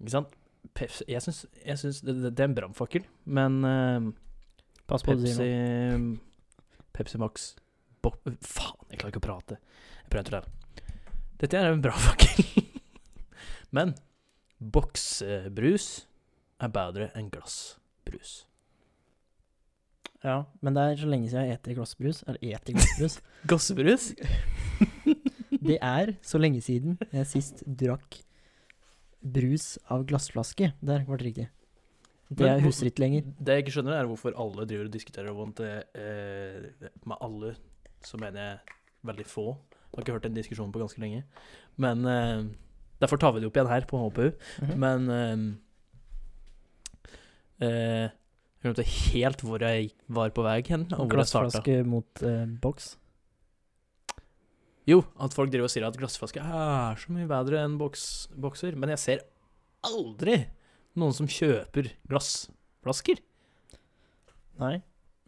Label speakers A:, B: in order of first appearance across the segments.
A: Ikke sant? Pepsi, jeg syns, jeg syns det, det, det er en brannfakkel, men eh,
B: Pass på hva du sier nå.
A: Pepsi eh, Pepsi Max Bo Faen, jeg klarer ikke å prate. Jeg prøver å lære. Dette er en bra fakkel. Men boksebrus er bedre enn glassbrus.
B: Ja, men det er så lenge siden jeg eter glassbrus. Eller eter glassbrus.
A: Gossebrus?
B: det er så lenge siden jeg sist drakk brus av glassflaske. Der var det riktig. Det
A: Men
B: jeg
A: hvor-
B: husker ikke lenger.
A: Det jeg ikke skjønner, er hvorfor alle driver og diskuterer om at eh, Med alle så mener jeg veldig få. Jeg har ikke hørt den diskusjonen på ganske lenge. Men eh, derfor tar vi det opp igjen her på HPU.
B: Mhm.
A: Men eh, eh, Jeg glemte helt hvor jeg var på vei hen. Og hvor jeg starta.
B: Glassflaske mot eh, boks.
A: Jo, at folk driver og sier at glassflaske er så mye bedre enn boks, bokser. Men jeg ser aldri noen som kjøper glassflasker.
B: Nei.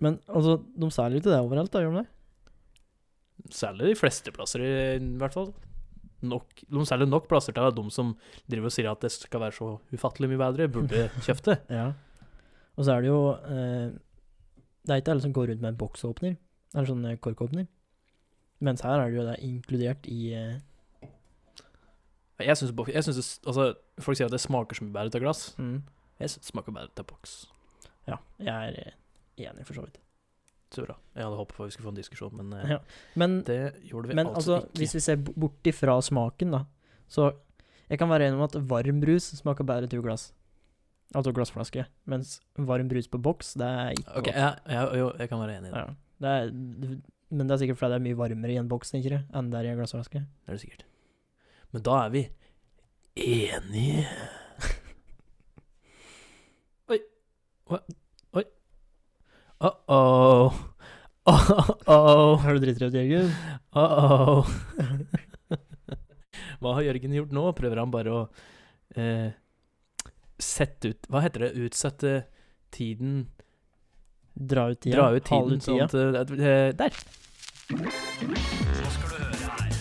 B: Men altså, de selger jo ikke det overalt, da, gjør de det?
A: Særlig de fleste plasser, i hvert fall. Nok, de selger nok plasser til at de som driver og sier at det skal være så ufattelig mye bedre, burde kjøpt det.
B: Ja. Og så er det jo eh, Det er ikke alle som går rundt med en boksåpner, eller sånn eh, korkåpner. Mens her er det jo det er inkludert i eh,
A: Jeg synes, bok- jeg synes, det- altså, Folk sier at det smaker så mye bedre til glass. Jeg synes det smaker bedre til boks.
B: Ja, jeg er eh, enig, for så vidt.
A: Så bra. Jeg hadde håpet på at vi skulle få en diskusjon, men eh,
B: Ja. Men,
A: det gjorde vi
B: men
A: altså,
B: altså, hvis
A: ikke.
B: vi ser b- bort ifra smaken, da, så Jeg kan være enig om at varm brus smaker bedre til glass. Altså glassflaske. Mens varm brus på boks, det er ikke
A: Ok, ja, ja, jo, jeg kan være enig i det.
B: Ja. Det er, d- men det er sikkert fordi det er mye varmere i en boks tenker jeg, enn det er i en glassflaske.
A: Det er det sikkert. Men da er vi enige. Oi. Hva? Oi. Uh-oh. Uh-oh.
B: Har du dritrødt, Jørgen?
A: Uh-oh. Hva har Jørgen gjort nå? Prøver han bare å eh, sette ut Hva heter det? Utsette tiden?
B: Dra ut tida.
A: Dra ut
B: halve
A: tiden sånn at eh, Der. Så skal du høre her.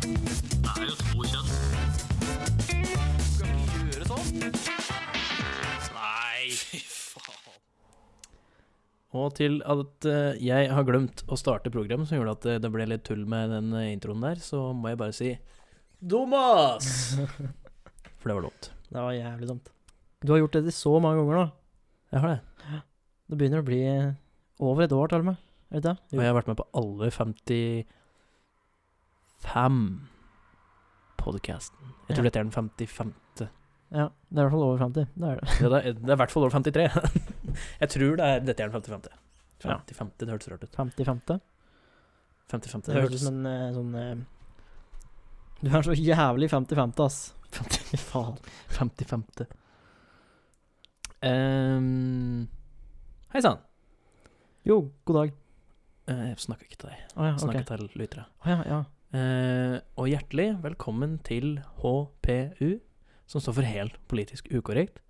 A: Det er jo to kjønn. Skal ikke gjøre sånn. Nei, fy faen. Og til at eh, jeg har glemt å starte program, som gjorde at eh, det ble litt tull med den eh, introen der, så må jeg bare si Dumas! For det var dumt.
B: Det var jævlig dumt. Du har gjort dette så mange ganger nå.
A: Jeg har det.
B: Det begynner å bli over et år, til og med. Er det
A: Og
B: ikke det?
A: jeg har vært med på alle 55 podcasten. Jeg tror
B: Ja.
A: dette er den 55.
B: Ja, det er i hvert fall over 50. Det er det.
A: Det er, det er i hvert fall over 53. jeg tror det er, dette er den 55. 55, det hørtes rart ut.
B: 50-50.
A: 55,
B: Det høres ut som en eh, sånn eh, Du er så jævlig 50-50, ass.
A: 50,
B: Faen.
A: 55. Um, Hei sann.
B: Jo, god dag.
A: Eh, Jeg snakker ikke til deg,
B: Å ja,
A: jeg
B: ok.
A: snakker til lyttere.
B: Å ja, ja.
A: Eh, og hjertelig velkommen til HPU, som står for Helt politisk ukorrekt.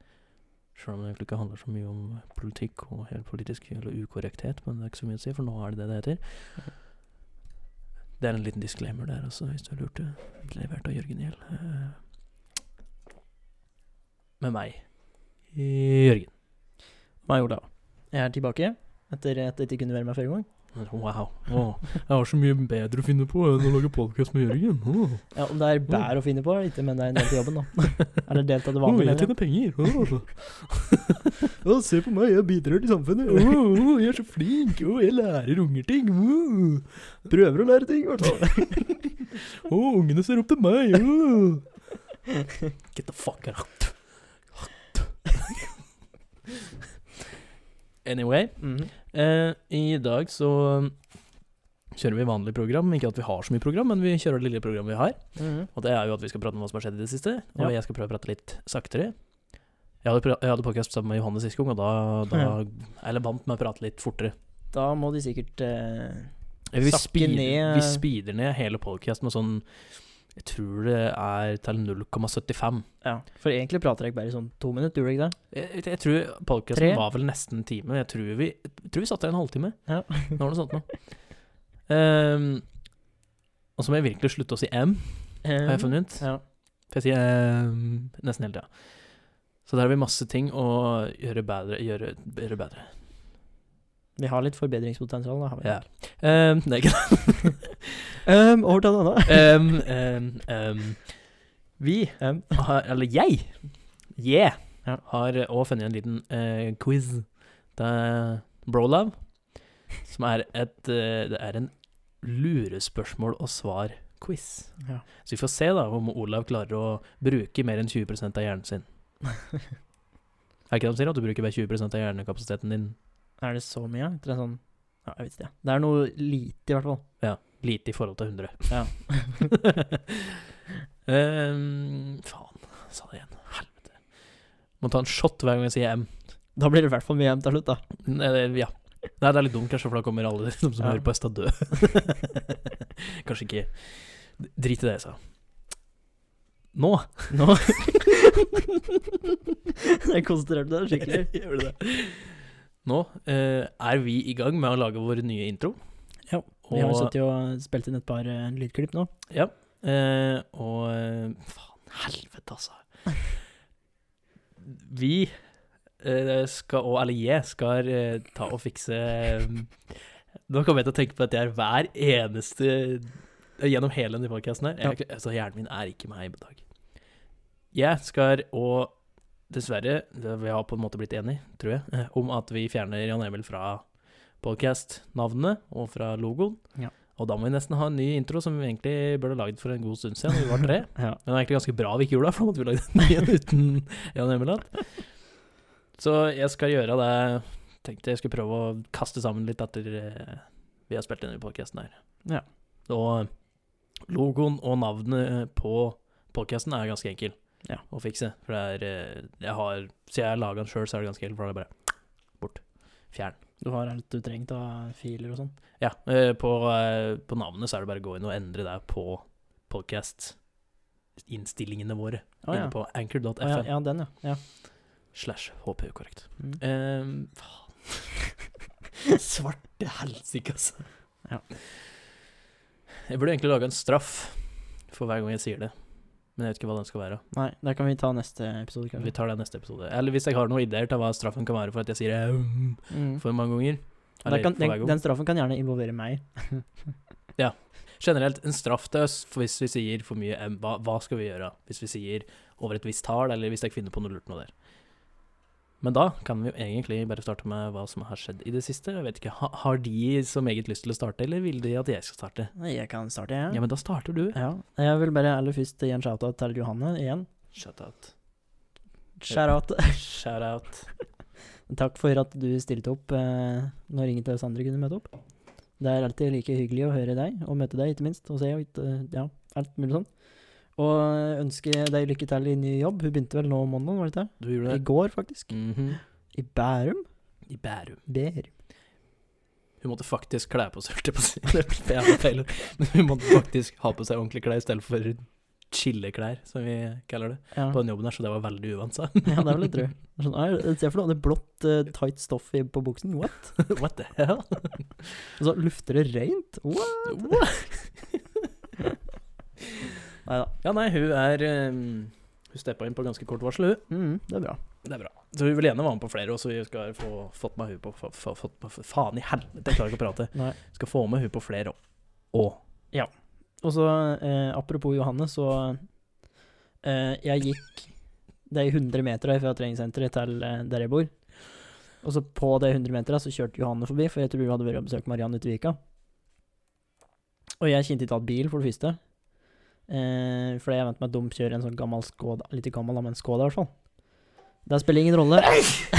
A: Selv om det egentlig ikke handler så mye om politikk og helt politisk eller ukorrekthet, men det er ikke så mye å si, for nå er det det det heter. Det er en liten disclaimer der, altså, hvis du lurte. Levert av Jørgen Gjell. Eh, med meg, Jørgen.
B: Meg gjorde det òg. Jeg er tilbake etter at jeg ikke kunne være med forrige gang.
A: Wow. Åh, jeg har så mye bedre å finne på enn å lage podkast med Jørgen. Åh.
B: Ja, Om det er bær å finne på, ikke, men det er en del til jobben, da. Eller del av det
A: Åh,
B: vanlige.
A: jeg tjener penger. Åh.
B: se på meg, jeg bidrar til samfunnet.
A: Åh, jeg er så flink! Åh, jeg lærer unger ting! Åh,
B: Prøver å lære ting, i hvert fall.
A: Åh, ungene ser opp til meg! Åh. Get the fuck out! anyway,
B: Mhm,
A: eh, i dag så kjører vi vanlig program. Ikke at vi har så mye program, men vi kjører det lille programmet vi har.
B: mhm.
A: Og det er jo at vi skal prate om hva som har skjedd i det siste. Og
B: Ja.
A: jeg skal prøve å prate litt saktere. Jeg hadde, pra- jeg hadde podcast sammen med Johannes sist gang, og da, da
B: Ja.
A: er jeg vant med å prate litt fortere.
B: Da må de sikkert eh,
A: Vi
B: Sakke
A: speeder,
B: ned-
A: vi speeder ned hele podcasten med sånn Jeg tror det er til 0,75.
B: Ja, for egentlig prater jeg bare i sånn to minutter, gjorde jeg ikke det?
A: Jeg, jeg- jeg tror podcasten
B: Tre.
A: var vel nesten en time. Jeg tror vi, jeg tror vi satt der en halvtime.
B: Ja.
A: Det var noe sånt nå. Ehm, og så må jeg virkelig slutte å si M, har jeg funnet ut.
B: Eh, Ja.
A: For jeg sier eh, nesten hele tida. Så der har vi masse ting å gjøre bedre. Gjøre, gjøre bedre.
B: Vi har litt forbedringspotensial, da. Har vi.
A: Ja. Ehm, det er ikke det.
B: Ehm, over til en annen.
A: Ehm, ehm, ehm, vi
B: Ehm.
A: har, Eller jeg, yeah,
B: Ja.
A: har òg funnet en liten eh, quiz. Det er Brolove, som er et eh, Det er en lurespørsmål og svar-quiz.
B: Ja.
A: Så vi får se da om Olav klarer å bruke mer enn 20 av hjernen sin. Er det ikke det de sier, at du bruker bare 20 av hjernekapasiteten din
B: Er det så mye? Etter en sånn Ja, jeg vet ikke. Det er noe lite, i hvert fall.
A: lite i forhold til 100.
B: Ja.
A: Ehm, faen, sa det igjen. Helvete. Må ta en shot hver gang jeg sier M.
B: Da blir det i hvert fall mye jevnt til slutt, da.
A: Nei, det- Ja. Nei, det er litt dumt, kanskje, for da kommer alle som, som
B: Ja.
A: hører på Østa dø. kanskje ikke. Drit i det jeg sa. Nå
B: Nå Jeg konsentrerte meg skikkelig.
A: Gjør du det? Nå eh, er vi i gang med å lage vår nye intro.
B: Ja, Vi har jo sittet og spilt inn et par eh, lydklipp nå.
A: Ja. Eh, og eh, Faen, helvete, altså. Vi eh, skal og Eller jeg skal eh, ta og fikse eh, Nå kommer jeg til å tenke på dette her hver eneste eh, Gjennom hele denne podkasten her. Jeg, altså, hjernen min er ikke med her i dag. Jeg skal og Dessverre, det vi har på en måte blitt enige, tror jeg, eh, om at vi fjerner Jan Emil fra podkast-navnet og fra logoen. Og da må vi nesten ha en ny intro som vi egentlig burde ha lagd for en god stund siden. når Vi var tre.
B: Ja.
A: Men det var egentlig ganske bra vi ikke gjorde det, for da måtte vi lagd en ny en uten Jan Emilhat. Så jeg skal gjøre det Tenkte jeg skulle prøve å kaste sammen litt etter eh, vi har spilt inn i podkasten her.
B: Ja.
A: Og logoen og navnet på podkasten er ganske enkel
B: Ja.
A: å fikse. For det er eh, jeg har, Siden jeg har laga den sjøl, så er det ganske enkelt. For da er det bare bort. Fjern.
B: Du har alt du trenger av filer og sånn.
A: Ja, eh, på, eh, på navnet så er det bare å gå inn og endre det på podcast-innstillingene våre.
B: Å ja.
A: Inne på anchor.fm
B: Å, ja, ja, den, ja. ja.
A: slash HPU korrekt.
B: Mm.
A: Um, faen. Svarte helsike, altså.
B: Ja.
A: Jeg burde egentlig lage en straff for hver gang jeg sier det. Men jeg vet ikke hva den skal være.
B: Nei, der kan vi ta neste episode,
A: Vi
B: kanskje.
A: tar det i neste episode. Eller hvis jeg har noen ideer til hva straffen kan være for at jeg sier um,
B: Mm.
A: for mange ganger.
B: Der
A: Eller
B: kan,
A: for hver
B: den,
A: gang.
B: den straffen kan gjerne involvere meg.
A: generelt en straff til oss for hvis vi sier for mye M. Hva, hva skal vi gjøre hvis vi sier over et visst tall, eller hvis jeg finner på noe lurt noe der? Men da kan vi jo egentlig bare starte med hva som har skjedd i det siste. Jeg vet ikke, ha, Har de så meget lyst til å starte, eller vil de at jeg skal starte?
B: Nei, Jeg kan starte, jeg.
A: Ja, men da starter du.
B: Ja. Jeg vil bare aller først gi en shout-out til Johanne igjen.
A: Shut out.
B: Shout-out.
A: Shout out.
B: Takk for at du stilte opp eh, når ingen av oss andre kunne møte opp. Det er alltid like hyggelig å høre deg, og møte deg, ikke minst. Og se og ikke, eh, ja, alt mulig sånn. Og eh, ønske deg lykke til i ny jobb. Hun begynte vel nå om måneden, var det ikke? det?
A: Du gjorde
B: I
A: det.
B: går, faktisk.
A: Mhm.
B: I Bærum.
A: I Bærum.
B: Bærum.
A: Hun måtte faktisk kle på seg, holdt jeg på å si. Det ble jævla feil. Men hun måtte faktisk ha på seg ordentlige klær i stedet for chilleklær, som vi kaller det.
B: Ja.
A: på den jobben her, så det var veldig uvant, sa
B: ja, det er vel litt drøy. Sånn, «Nei, Se for noe, det er blått, eh, tight stoff i, på buksen. What?
A: What the hell?
B: Og så lufter det rent. What? Nei da.
A: Ja, nei, hun er um, Hun steppa inn på ganske kort varsel, hun.
B: Mm, det er bra.
A: Det er bra. Så hun vil gjerne være med på flere, og så vi skal få fått med hun på få, få, fått med, Faen i helvete, jeg klarer ikke å prate.
B: Nei.
A: Skal få med hun på flere òg. Og
B: Og så, eh, apropos Johanne, så eh, Jeg gikk de 100 metera fra treningssenteret til eh, der jeg bor. Og så på de 100 metera så kjørte Johanne forbi, for jeg tror hun hadde vært og besøkt Mariann ute i Vika. Og jeg kjente ikke igjen bil, for det første. Eh, fordi jeg vant meg dumkjøre en sånn gammel Skoda Litt gammel, da, men Skoda, i hvert fall. Det spiller ingen rolle.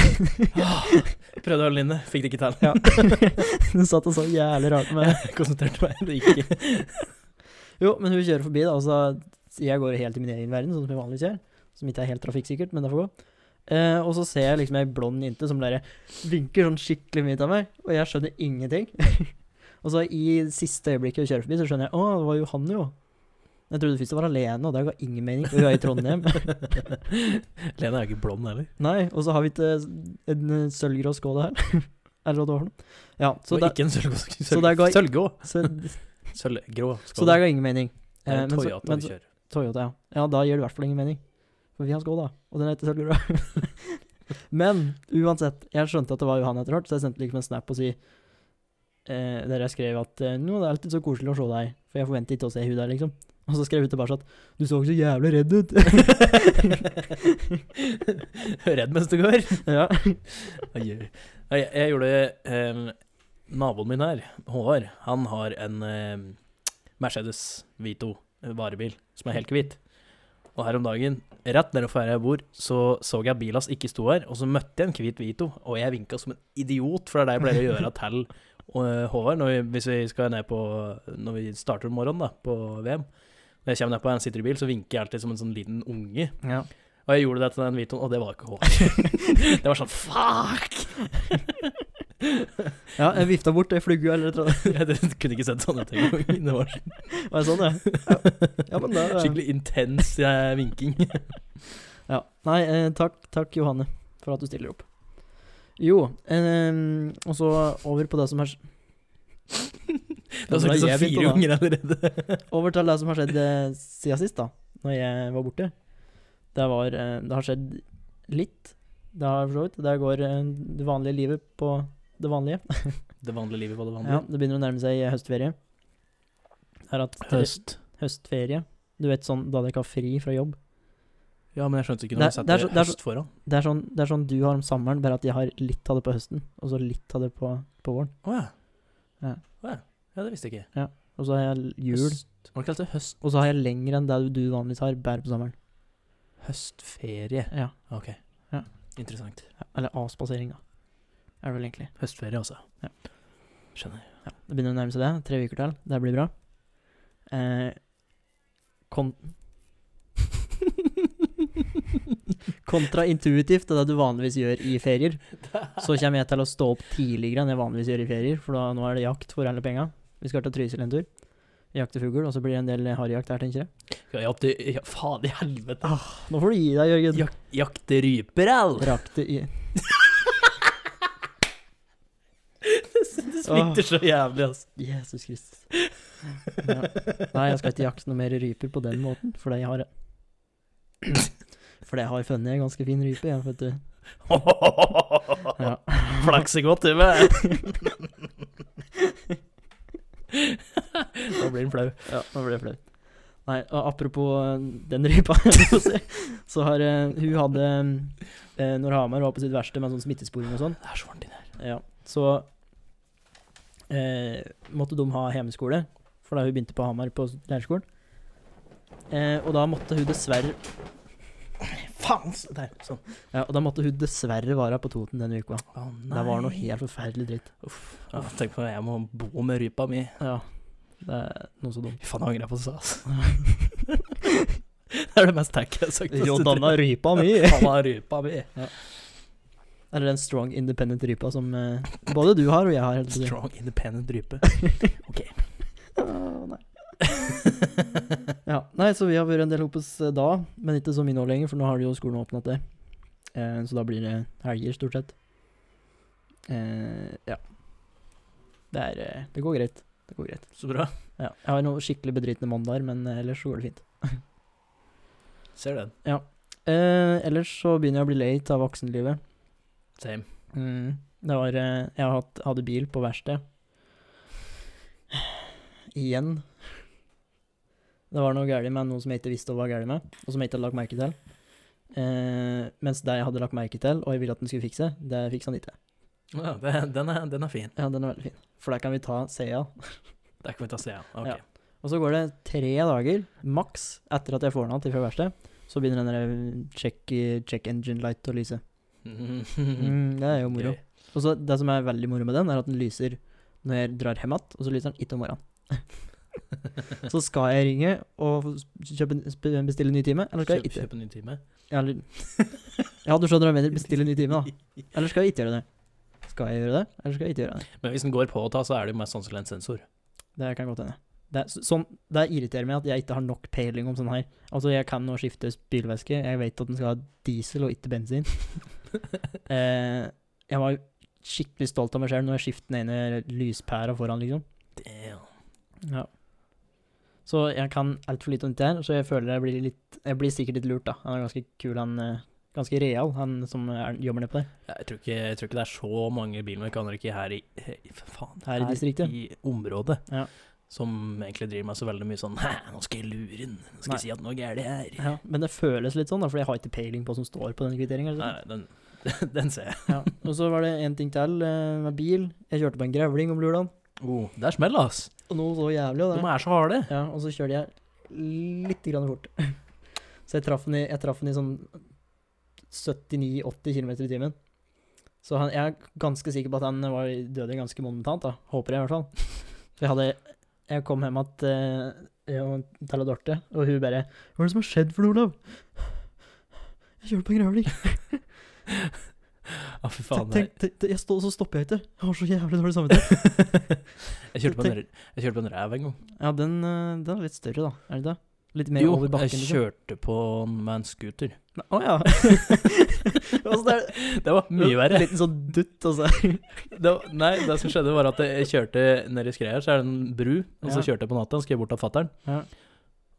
A: Prøvde å holde det inne, fikk det ikke til.
B: Ja. Hun satt og så jævlig rart med
A: Jeg konsentrerte meg, det gikk ikke.
B: Jo, men hun kjører forbi, da. Altså, jeg går helt i min egen verden, sånn som jeg vanligvis gjør. Som ikke er helt trafikksikkert, men det får gå. Eh, og så ser jeg liksom ei blond jente som bare vinker sånn skikkelig mye til meg, og jeg skjønner ingenting. og så i siste øyeblikket hun kjører forbi, så skjønner jeg Å, det var Johanne, jo. Jeg trodde først det var alene, og det ga ingen mening. Og hun er i Trondheim.
A: Lena er jo ikke blond heller.
B: Nei, og så har vi ikke en eh, sølvgrå skål her. Eller hva det var for noe. Ja, så,
A: Og
B: det,
A: ikke en sølvgrå.
B: der
A: Sølvgrå.
B: går-
A: Sølvgrå.
B: så,
A: Sølvgrå.
B: så det ga ingen mening.
A: Det er
B: Eh,
A: en
B: men så-
A: Toyota
B: men
A: vi
B: så-
A: kjører.
B: Toyota, ja. Ja, da gir det i hvert fall ingen mening. For vi har Skoda, og den heter Sølvgrå. Men uansett, jeg skjønte at det var Johan etter hvert, så jeg sendte liksom en snap og si eh, der jeg skrev at eh, nå, det er alltid så koselig å se deg, for jeg forventer ikke å se hun der, liksom. Og så skrev hun tilbake at du så så jævlig redd ut.
A: Redd mens det går.
B: ja.
A: Oi, oi. Nei, Jeg, jeg gjorde eh, Naboen min her, Håvard, han har en eh, Mercedes Vito eh, varebil som er helt hvit. Og her om dagen, rett nedenfor her jeg bor, så så jeg bilen hans ikke sto her, og så møtte jeg en hvit Vito, og jeg vinka som en idiot, for det er det jeg pleier å gjøre til eh, Håvard når vi, hvis vi skal ned på Når vi starter om morgenen, da, på VM. Når jeg kommer ned på en sitterbil, så vinker jeg alltid som en sånn liten unge.
B: ja.
A: Og jeg gjorde det til den Vitoen, og det var ikke Håvard. det var sånn fuck!
B: ja, jeg vifta bort ei flugge eller et eller annet.
A: Jeg kunne ikke sett sånn ut engang. Det var
B: Var det sånn, ja? Ja, men da eh,
A: skikkelig intens eh, vinking.
B: Ja. Nei, eh, takk, takk Johanne for at du stiller opp. Jo, eh, og så over på det som har
A: Du har sagt det sånn fire ganger allerede.
B: Over til det som har skjedd eh, siden sist, da. Når jeg var borte. Det, var, eh, det har skjedd litt. Det har for så vidt. Det går eh, det vanlige livet på det vanlige.
A: Det vanlige livet var det
B: Ja,
A: vanlige.
B: det begynner å nærme seg eh, høstferie. Jeg har hatt tre-
A: Høst.
B: høstferie. Du vet sånn da dere ikke har fri fra jobb.
A: Ja, men jeg skjønte ikke
B: Det-
A: når jeg
B: det er
A: setter
B: så- det er så-
A: høst foran.
B: Det er, sånn, det er sånn du har om sommeren, bare at jeg har litt av det på høsten, og så litt av det på, på våren.
A: Å ja.
B: Ja.
A: Å ja. Ja, det visste jeg ikke.
B: Og så har jeg jul.
A: Høst. Hva kalte det? Høst,
B: Og så har jeg lenger enn det du vanligvis har, bare på sommeren.
A: høstferie.
B: Ja.
A: Ok.
B: Ja.
A: Interessant.
B: Eller avspasering, da. Er det vel egentlig.
A: Høstferie, altså.
B: Ja.
A: Skjønner.
B: Ja, det begynner å nærme seg det. Tre uker til. Det blir bra. Eh, kon Kontraintuitivt til det du vanligvis gjør i ferier. Så kommer jeg til å stå opp tidligere enn jeg vanligvis gjør i ferier, for da, nå er det jakt for alle penga. Vi skal til Trysil en tur. Jakte fugl, og så blir det en del harrejakt her, tenker jeg.
A: Ja, jakte ja, Faen i helvete.
B: Nå får du gi deg, Jørgen.
A: Jak jakte ryper, au!
B: Rakte i
A: Det smitter så jævlig, altså.
B: Jesus Kristus. Ja. Nei, jeg skal ikke jakte noe mer ryper på den måten, fordi jeg har Fordi jeg har funnet en ganske fin rype, jeg, vet du. Ja.
A: Flakser godt, du, med. Da blir den flau.
B: Ja, nå ble jeg flau. Nei, og apropos eh, den rypa, så se, så har eh, hun hadde eh, Når Hamar var på sitt verste med sånn smittesporing og sånn,
A: Det er så varmt inne her.
B: ja, så eh, måtte de ha hjemmeskole, for da hun begynte på Hamar på leirskolen. Eh, og da måtte hun dessverre
A: Faen! s- Der, sånn.
B: Ja, og da måtte hun dessverre være på Toten denne uka.
A: Å, nei.
B: Det var noe helt forferdelig dritt.
A: Uff. Ja, tenk på det, jeg må bo med rypa mi.
B: Ja, det er noe så dumt.
A: Fy faen, jeg angrer på det jeg sa, altså. det er det mest tacky jeg har sagt.
B: Jodanna rypa mi!
A: Jodanna rypa mi.
B: Eller den strong independent rypa som eh, både du har og jeg har. helt på siden.
A: Strong, independent rype.
B: Åh, nei. ja, nei, så vi har vært en del hos eh, da, men ikke så mye nå lenger, for nå har de jo skolen åpnet det. Eh, så da blir det helger, stort sett. Eh, ja. Det, er, eh, det går greit. Det går greit.
A: Så bra.
B: Ja. Jeg har noen skikkelig bedritne mandager, men eh, ellers så går det fint.
A: Ser den.
B: Eh, ellers så begynner jeg å bli lei av voksenlivet.
A: Same.
B: Mm. Det var eh, Jeg har hatt, hadde bil på verksted. Igjen. Det var noe galt med noe som jeg ikke visste hva var galt med, og som jeg ikke hadde lagt merke til. Eh, mens det jeg hadde lagt merke til, og jeg ville at den skulle fikse, det fiksa han ikke.
A: Ja, det- den, er, den er fin.
B: Ja, den er veldig fin. For der kan vi ta CA.
A: Der kan vi ta se, ja. Ok.
B: Ja. Og så går det tre dager, maks, etter at jeg får den av til fra verksted, så begynner den der check, check engine light å lyse.
A: Mhm.
B: Mm, det er jo moro.
A: Gøy.
B: Og så Det som er veldig moro med den, er at den lyser når jeg drar hjem igjen, og så lyser den ikke om morgenen. så skal jeg ringe og få s- kjøpe, en- sp- bestille en ny time, eller
A: Kjøp,
B: skal jeg ikke?
A: kjøp en ny time.
B: Eller, ja, du skjønner hva jeg mener. Bestille en ny time, da. Eller skal jeg ikke gjøre det? Skal jeg gjøre det, eller skal jeg ikke gjøre det?
A: Men hvis den går på å ta, så er det jo mest sannsynlig en sensor.
B: Det kan godt hende. Det, er s- sånn, det irriterer meg at jeg ikke har nok peiling om sånn her. Altså, jeg kan nå skifte bilvæske, jeg vet at den skal ha diesel og ikke bensin. eh, jeg var skikkelig stolt av meg selv når jeg skiftet den ene lyspæra foran, liksom.
A: Damn.
B: Ja. Så jeg kan altfor lite om dette her, så jeg føler jeg blir, litt, jeg blir sikkert litt lurt, da. Han er ganske kul, han eh, Ganske real, han som er, jobber nede på der.
A: Jeg tror, ikke, jeg tror ikke det er så mange bilmekanikere her i, i faen,
B: Her i distriktet.
A: I området.
B: Ja.
A: Som egentlig driver meg så veldig mye sånn Hæ, nå skal jeg lure den. Nå skal
B: Nei.
A: jeg si at noe er gærent her.
B: Ja, men det føles litt sånn, da, for jeg har ikke peiling på hva som står på den kvitteringa.
A: Nei, den, den ser jeg.
B: Ja. Og så var det en ting til eh, med bil. Jeg kjørte på en grevling om lørdagen.
A: Oh, det er smell, ass.
B: Og noe så jævlig. Og
A: De
B: det.
A: er så harde.
B: Ja, og så kjørte jeg litt grann fort. Så jeg traff den i, jeg traff den i sånn 79-80 km i timen. Så han, jeg er ganske sikker på at han var døde ganske momentant, da. Håper jeg, i hvert fall. For jeg hadde Jeg kom hjem at, eh, jeg og- til og Dorte, og hun bare 'Hva er det som har skjedd for noe, Olav?' 'Jeg kjørte på en grevling.'
A: Ja, fy faen.
B: Tenk, tenk, tenk, jeg stå, så stopper jeg ikke. Jeg har så jævlig dårlig samvittighet.
A: Jeg kjørte på en, jeg kjørte på en ræv en gang.
B: Ja, den, eh, den er litt større, da. Er det det? Litt mer
A: Jo,
B: over bakken?
A: jeg
B: liksom.
A: kjørte på den med en scooter.
B: Nei, Å ja. altså, det er
A: Det var mye verre.
B: En liten sånn dutt, altså.
A: Det var, nei, det som skjedde, var at jeg kjørte ned i skreia, så er det en bru, og så
B: Ja.
A: kjørte jeg på natta, og skrev bort av fatteren.
B: Ja.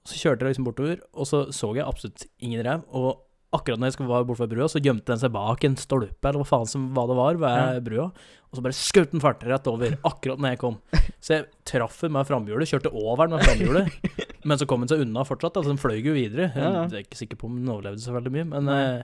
A: Så kjørte jeg liksom bortover, og så så jeg absolutt ingen ræv, og akkurat når jeg skulle være bortfor brua, så gjemte den seg bak en stolpe, eller hva faen som hva det var, ved
B: Ja.
A: brua, og så bare skjøt den fart rett over, akkurat når jeg kom. Så jeg traff den med framhjulet, kjørte over den med framhjulet, men så kom den seg unna fortsatt, altså den fløy jo videre. Jeg
B: Ja, ja.
A: er ikke sikker på om den overlevde så veldig mye, men
B: Nei.
A: eh,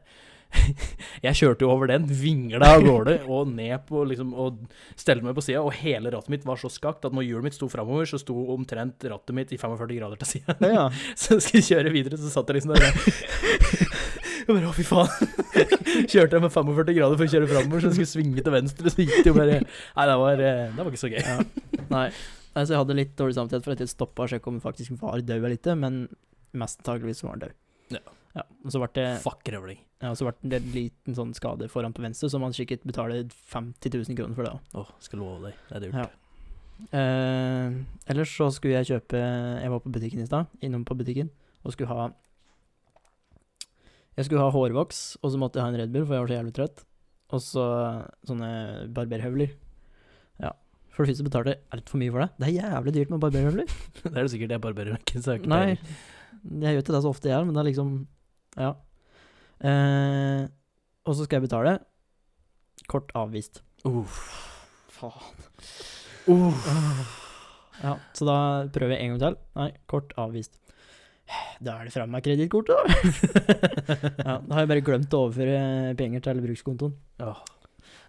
A: jeg kjørte jo over den, vingla av gårde og ned på liksom, og stelte meg på sida, og hele rattet mitt var så skakt at når hjulet mitt sto framover, så sto omtrent rattet mitt i 45 grader til sida.
B: Ja, ja.
A: Så jeg skulle kjøre videre, så satt jeg liksom der og jeg bare, Å, fy faen. Kjørte jeg med 45 grader for å kjøre framover, så jeg skulle svinge til venstre, så gikk det jo bare Nei, det var, eh, det var ikke så gøy.
B: Nei. Nei, så jeg hadde litt dårlig samvittighet for at jeg stoppa og sjekka om han faktisk var død eller ikke, men mest antakeligvis var han død.
A: Ja.
B: Ja, og så ble det,
A: Fuck grevling.
B: ja, så ble det en liten sånn skade foran på venstre, som han sikkert betaler 50 000 kroner for. det også.
A: Å, skal love deg. Det er dyrt.
B: Ja. Eh, ellers så skulle jeg kjøpe Jeg var på butikken i stad, innom på butikken, og skulle ha Jeg skulle ha hårvoks, og så måtte jeg ha en Red Bull, for jeg var så jævlig trøtt. Og så sånne barberhøvler. Ja. For det første betalte jeg altfor mye for det. Det er jævlig dyrt med barberhøvler.
A: Det er det sikkert jeg barberer meg ikke, så jeg har ikke
B: Nei,
A: peiling.
B: jeg gjør ikke det så ofte, jeg, men det er liksom Ja. Eh, og så skal jeg betale. Kort avvist.
A: Uff.
B: Faen.
A: Uff.
B: Ja, så da prøver jeg en gang til. Nei, kort avvist. Da er det fram med kredittkortet, da. ja, da har jeg bare glemt å overføre penger til brukskontoen.
A: Ja.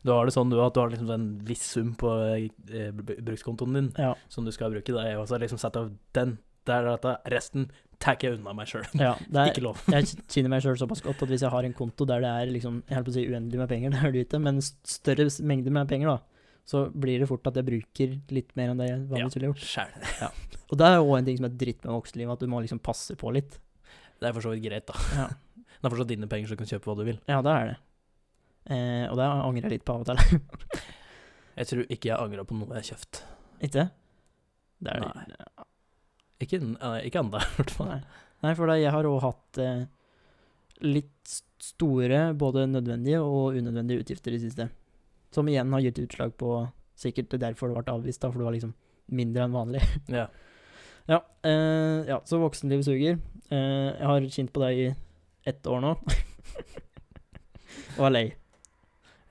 A: Du har det sånn du, at du har liksom en viss sum på eh, br- brukskontoen din
B: Ja,
A: som du skal bruke. Da. Jeg også har liksom satt av den. Der er dette. Resten tar jeg unna meg sjøl.
B: ja det er,
A: Ikke lov.
B: jeg kjenner meg sjøl såpass godt at hvis jeg har en konto der det er liksom, jeg holdt på å si uendelig med penger, det er det jo ikke, men s- større s- mengder med penger, da, så blir det fort at jeg bruker litt mer enn det jeg vanligvis ville gjort.
A: Sjæl.
B: Og det er òg en ting som er dritt med voksenlivet, at du må liksom passe på litt.
A: Det er for så vidt greit, da.
B: Ja.
A: Det er fortsatt dine penger, så du kan kjøpe hva du vil.
B: Ja, det er det. Eh, og det angrer jeg litt på av og til.
A: Jeg tror ikke jeg angra på noe jeg har kjøpt.
B: ikke? Det er
A: Nei. Ikke, nei, ikke ennå, i hvert fall.
B: Nei. Nei, for da, jeg har òg hatt eh, litt s- store, både nødvendige og unødvendige utgifter i det siste. Som igjen har gitt utslag på Sikkert det er derfor det ble avvist, da, for det var liksom mindre enn vanlig.
A: Ja.
B: Ja, eh, ja så voksenlivet suger. Eh, jeg har kjent på det i ett år nå. og er lei.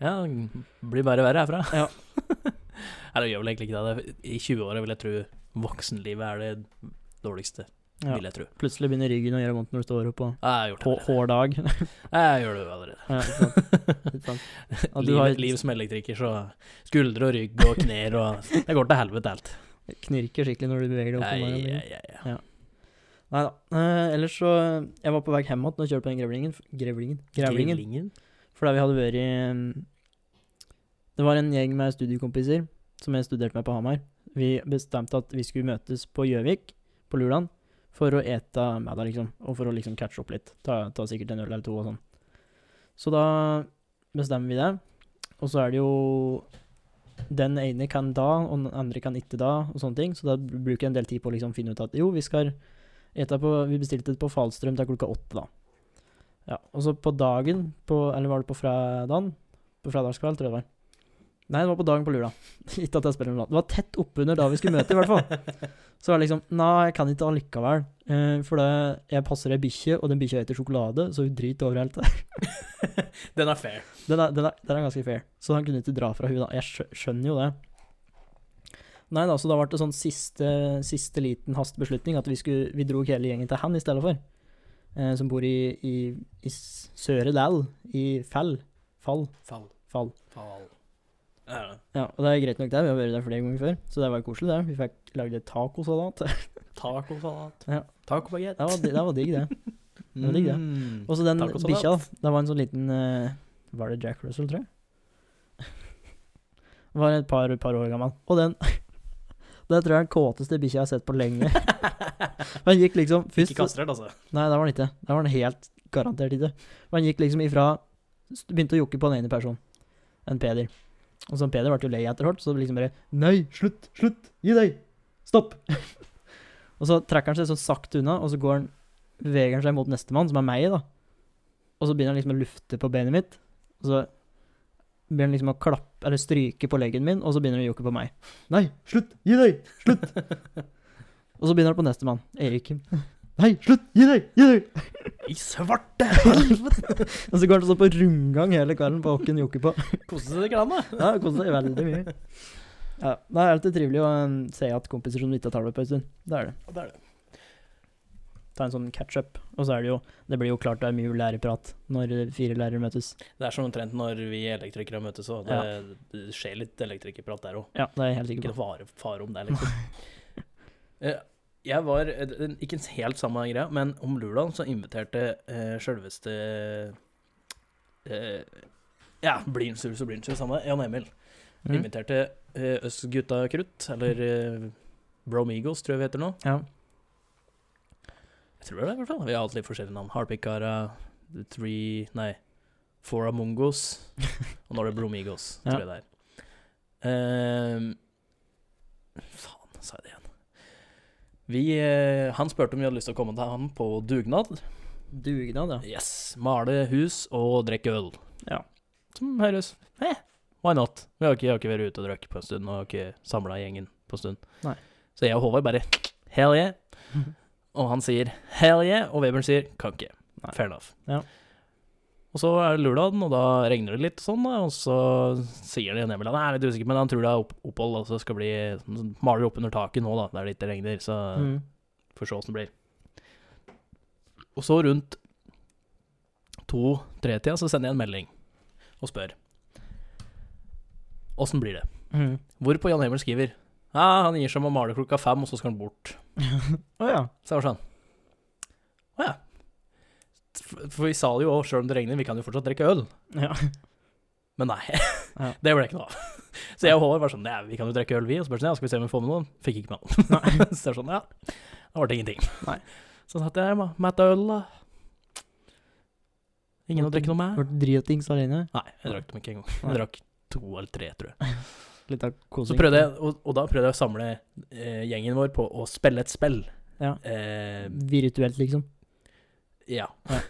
A: ja, det blir bare verre herfra.
B: Ja.
A: Nei, det gjør vel egentlig ikke det. det. er- I 20-åra vil jeg tro voksenlivet er det dårligste,
B: Ja.
A: vil jeg tro.
B: Plutselig begynner ryggen å gjøre vondt når du står opp på
A: Jeg har gjort det. allerede.
B: hå- hård dag.
A: Jeg gjør det jo allerede.
B: ja, ikke sant? Ikke sant? Ja, du
A: liv,
B: har-
A: liv som elektriker, så skuldre og rygg og knær og Det går til helvete alt.
B: Knirker skikkelig når du beveger deg opp.
A: Nei,
B: om morgenen.
A: ja, ja, ja.
B: Nei da. Eh, ellers så Jeg var på vei hjem igjen da jeg kjørte på den grevlingen. Grevlingen? Grevlingen.
A: Grevlingen?
B: For da vi hadde vært i mm, Det var en gjeng med studiekompiser som jeg studerte med på Hamar. Vi bestemte at vi skulle møtes på Gjøvik på Lulan for å ete middag, liksom. Og for å liksom catche opp litt. Ta, ta sikkert en øl eller to og sånn. Så da bestemmer vi det. Og så er det jo Den ene kan da, og den andre kan ikke da, og sånne ting. Så da br- bruker jeg en del tid på å liksom finne ut at jo, vi skal ete på Vi bestilte det på Falstrøm til klokka åtte, da. Ja, og så på dagen, på, eller var det på fredagen? På fredagskveld, tror jeg det var. Nei, det var på dagen på lula. ikke at jeg spiller noe annet. Det var tett oppunder da vi skulle møte, i hvert fall. Så var det liksom Nei, jeg kan ikke allikevel. Eh, for det, jeg passer ei bikkje, og den bikkja heter Sjokolade, så hun driter overalt.
A: Den er fair.
B: Den er, den, er, den er ganske fair. Så han kunne ikke dra fra henne, da. Jeg skjø- skjønner jo det. Nei da, så da ble det sånn siste, siste liten hastebeslutning at vi, skulle, vi drog hele gjengen til han i stedet for. Eh, som bor i, i, i Søre Dal, i Fell. Fall.
A: Fall.
B: Fall.
A: Fall. Ja, ja.
B: Ja, og det er greit nok det, vi har vært der flere ganger før, så det var koselig det. Vi fikk lagd et tacosalat.
A: Tacosalat.
B: Ja.
A: Tacobaguett.
B: Det var, det var digg, det. var digg, det.
A: Mm.
B: Og så den
A: Tacosalat.
B: bikkja, da. Det var en sånn liten eh, Var det Jack Russell, tror jeg? Var et par, par år gammel. Og den Det tror jeg er den kåteste bikkja jeg har sett på lenge. Den gikk liksom først
A: Ikke kastrert, altså.
B: Nei, det var den ikke. Det var den helt garantert ikke. Men han gikk liksom ifra Begynte å jokke på den ene personen, en Peder. Og så Peder ble jo lei etter hvert, så det liksom bare Nei, slutt, slutt, gi deg! Stopp! og så trekker han seg sånn sakte unna, og så går han beveger han seg mot nestemann, som er meg, da. Og så begynner han liksom å lufte på beinet mitt. Og så begynner han liksom å klappe eller stryke på leggen min, og så begynner han å jokke på meg. Nei, slutt! Gi deg! Slutt! og så begynner han på nestemann, Erik. Nei, slutt! Gi deg! Gi deg!
A: I svarte!
B: Og så går han sånn på rundgang hele kvelden på åkken jokker på.
A: Koste seg ikke, han, da?
B: Ja, det koster veldig mye. Ja, Det er alltid trivelig å um, se at kompiser som du ikke har talt med på en stund. Det er det.
A: Ja, Det er det.
B: Ta en sånn catch-up. Og så er det jo Det blir jo klart det er mye lærerprat når eh, fire lærere møtes.
A: Det er sånn omtrent når vi elektrikere møtes òg. Det, det skjer litt elektrikerprat der òg.
B: Ja, det er jeg helt
A: Ikke
B: sikker på.
A: noe fare, fare om det, liksom. Eh, Jeg var eh, det- Ikke helt samme greia, men om lulaen så inviterte eh, sjølveste eh, Ja, Blindsrud så Blindsrud, samme Jan Emil.
B: Mm.
A: Inviterte eh, oss gutta krutt, eller eh, Bromigos, tror jeg vi heter nå.
B: Ja.
A: Jeg tror det, i hvert fall. Vi har hatt litt forskjellige navn. Harpikara, The Three Nei, Four Among Us. Og nå er det Bromigos,
B: Ja.
A: tror jeg det er. Ehm, faen, sa jeg det igjen. Vi, eh, han spurte om vi hadde lyst til å komme til ham på dugnad.
B: Dugnad, ja.
A: Yes. Male hus og drikke øl.
B: Ja.
A: Som høres eh, Why not? Vi har ikke, jeg har ikke vært ute og drukket på en stund, og har ikke samla gjengen på en stund.
B: Nei.
A: Så jeg og Håvard bare Hell yeah. Og han sier hell yeah, og Webern sier kan ikke.
B: Nei.
A: Fair enough.
B: Ja.
A: Og så er det lørdagen, og da regner det litt, og sånn, da, og så sier det Emil at han er litt usikker, men han tror det er opp opphold, og så skal bli sånn, Maler opp under taket nå, da, der det ikke regner, så
B: Mm.
A: Får se åssen det blir. Og så rundt to-tre-tida så sender jeg en melding og spør åssen blir det.
B: Mm.
A: Hvorpå Jan Emil skriver ja, han gir seg med å male klokka fem, og så skal han bort.
B: Å ja.
A: Så jeg var sånn Å ja. For for vi sa det jo òg, sjøl om det regner, vi kan jo fortsatt drikke øl.
B: ja.
A: Men nei.
B: Ja.
A: Det ble ikke noe av. Så jeg og Håvard var sånn Nei, vi kan jo drikke øl, vi. Og så bare sånn, ja, skal vi se om vi får med noen? Fikk ikke med noen. så det er sånn, ja. Da ble det ingenting.
B: Nei.
A: Så satt jeg her med mett øl, da. Ingen å drikke noe med?
B: Ble dritings alene.
A: Nei, jeg drakk dem ikke engang.
B: Nei.
A: Jeg drakk to eller tre, tror jeg.
B: Litt av kosing.
A: Så prøvde jeg, og, og da prøvde jeg å samle eh, gjengen vår på å spille et spill.
B: Ja.
A: Eh,
B: Virtuelt, liksom.
A: ja.
B: Ja.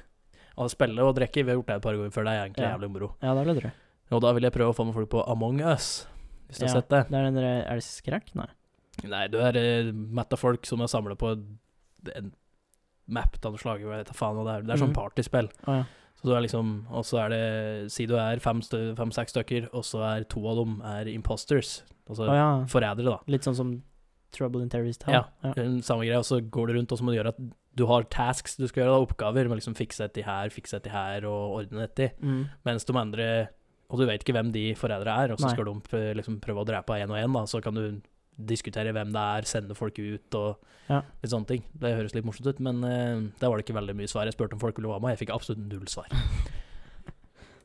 A: Og spille og drikke, vi har gjort det et par ganger før, det er egentlig
B: Ja.
A: jævlig moro.
B: Ja, det er det, tror jeg.
A: Og da vil jeg prøve å få med folk på Among Us, hvis du
B: Ja.
A: har sett det.
B: Det er den derre Er det skrekk? Nei.
A: Nei, du er eh, mett av folk som er samla på en map av noe slag. Jeg vet da faen hva det er. Det er sånn
B: Mhm.
A: partyspill.
B: Å ja.
A: Så du er liksom, og så er det Si du er fem-seks stø, fem, seks stykker, og så er to av dem er imposters. Altså
B: Å ja.
A: forrædere, da.
B: Litt sånn som Trouble in Terrorist Town.
A: Ja. Den Samme greia, og så går du rundt, og så må du gjøre at du har tasks du skal gjøre, da, oppgaver. Med liksom fikse etter her, fikse etter her, og ordne etter.
B: Mm.
A: Mens de andre Og du vet ikke hvem de forrædere er, og så
B: Nei.
A: skal de eh, liksom prøve å drepe én og én, da. Så kan du diskutere hvem det er, sende folk ut og
B: Ja.
A: litt sånne ting. Det høres litt morsomt ut, men eh, der var det ikke veldig mye svar. Jeg spurte om folk ville være med, jeg fikk absolutt null svar.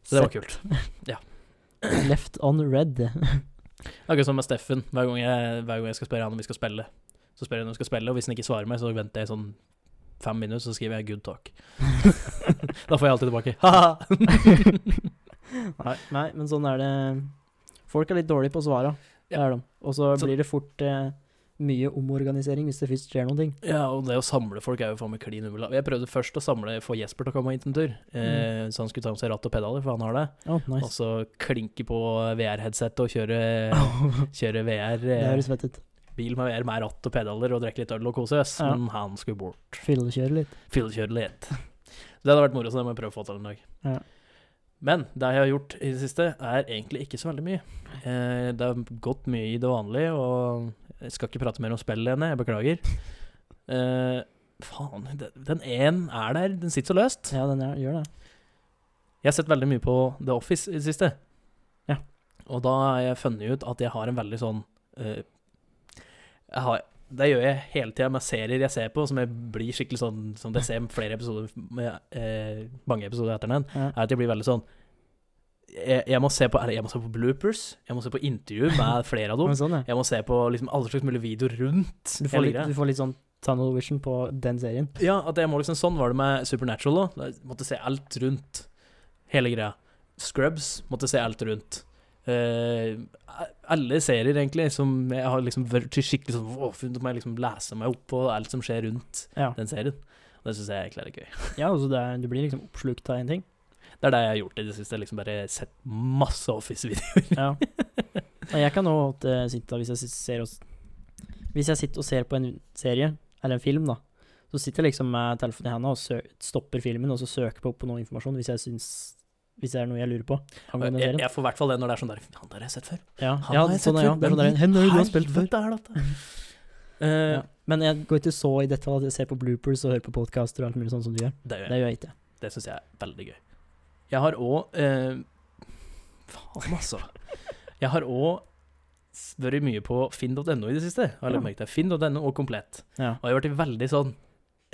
A: Så det var kult.
B: Left on red.
A: Det er Akkurat som med Steffen. Hver gang, jeg, hver gang jeg skal spørre han om vi skal spille, så spør jeg når vi skal spille, og hvis han ikke svarer meg, så venter jeg sånn fem minutter, så skriver jeg 'good talk'. da får jeg alltid tilbake ha-ha.
B: Nei, nei, men sånn er det. Folk er litt dårlige på å svare. Det
A: Ja.
B: er de. Og så
A: Så-
B: blir det fort eh, mye omorganisering hvis det først skjer noen ting.
A: Ja, og det å samle folk er jo faen meg klin umulig. Jeg prøvde først å samle, få Jesper til å komme hit en tur,
B: Mm.
A: eh, så han skulle ta med seg ratt og pedaler, for han har det.
B: Å,
A: Og
B: nice.
A: så klinke på VR-headsetet og kjøre, kjøre VR,
B: Det liksom-
A: eh,
B: høres fett ut.
A: bil med VR med ratt og pedaler og drikke litt øl og kose oss.
B: Ja.
A: Men han skulle bort.
B: Fyllekjøre litt.
A: Fyllekjøre litt. Det hadde vært moro, så det må jeg prøve å få til en dag.
B: Ja.
A: Men det jeg har gjort i det siste, er egentlig ikke så veldig mye. Eh, det har gått mye i det vanlige, og jeg skal ikke prate mer om spill, Lene. Jeg beklager. Eh, faen, den- den én er der. Den sitter så løst.
B: Ja, den er, gjør det.
A: Jeg har sett veldig mye på The Office i det siste.
B: Ja.
A: Og da har jeg funnet ut at jeg har en veldig sånn eh, jeg har, Det gjør jeg hele tida med serier jeg ser på, som jeg blir skikkelig sånn Som jeg ser flere episoder med, eh, mange episoder etter den
B: Ja.
A: er at jeg blir veldig sånn jeg, jeg, må se på, jeg må se på bloopers, jeg må se på intervju med flere av
B: Men
A: dem.
B: sånn, ja.
A: Jeg må se på liksom alle slags mulige videoer rundt.
B: Du får,
A: hele
B: litt,
A: greia.
B: du får litt sånn tunnel vision på den serien.
A: Ja, at jeg må liksom Sånn var det med Supernatural. da Jeg måtte se alt rundt. Hele greia. Scrubs måtte se alt rundt. Eh, alle serier, egentlig, som jeg har liksom vært skikkelig sånn Åh, funnet meg liksom lese meg opp på alt som skjer rundt
B: Ja,
A: den serien. Og det syns jeg er klart gøy.
B: ja altså det er, du blir liksom oppslukt av en ting.
A: Det er det jeg har gjort i det siste. Liksom bare sett masse Office-videoer.
B: Ja. Og jeg kan òg sitte hvis jeg sit- ser oss Hvis jeg sitter og ser på en serie, eller en film, da, så sitter jeg liksom med telefonen i henda og sø stopper filmen, og så søker på, på noe informasjon hvis jeg syns Hvis det er noe jeg lurer på angående
A: Jeg,
B: serien.
A: jeg får i hvert fall det når det er sånn der Han der har jeg sett før.
B: Ja,
A: Han
B: ja,
A: har jeg
B: sånn,
A: sett
B: ja.
A: før,
B: Det er sånn
A: men
B: der, Hen har du
A: helvete
B: spilt før? Mm.
A: er dette? Eh,
B: Ja. Men jeg går ikke så i detalj at jeg ser på bloopers og hører på podkaster og alt mulig sånn som du gjør.
A: Det gjør
B: Det
A: jeg.
B: gjør jeg ikke.
A: Det syns jeg er veldig gøy. Jeg har òg Faen, altså. Jeg har òg vært mye på finn.no i det siste. Jeg har
B: Ja.
A: lagt merke til Finn.no og Komplett.
B: Ja.
A: Og jeg har vært veldig sånn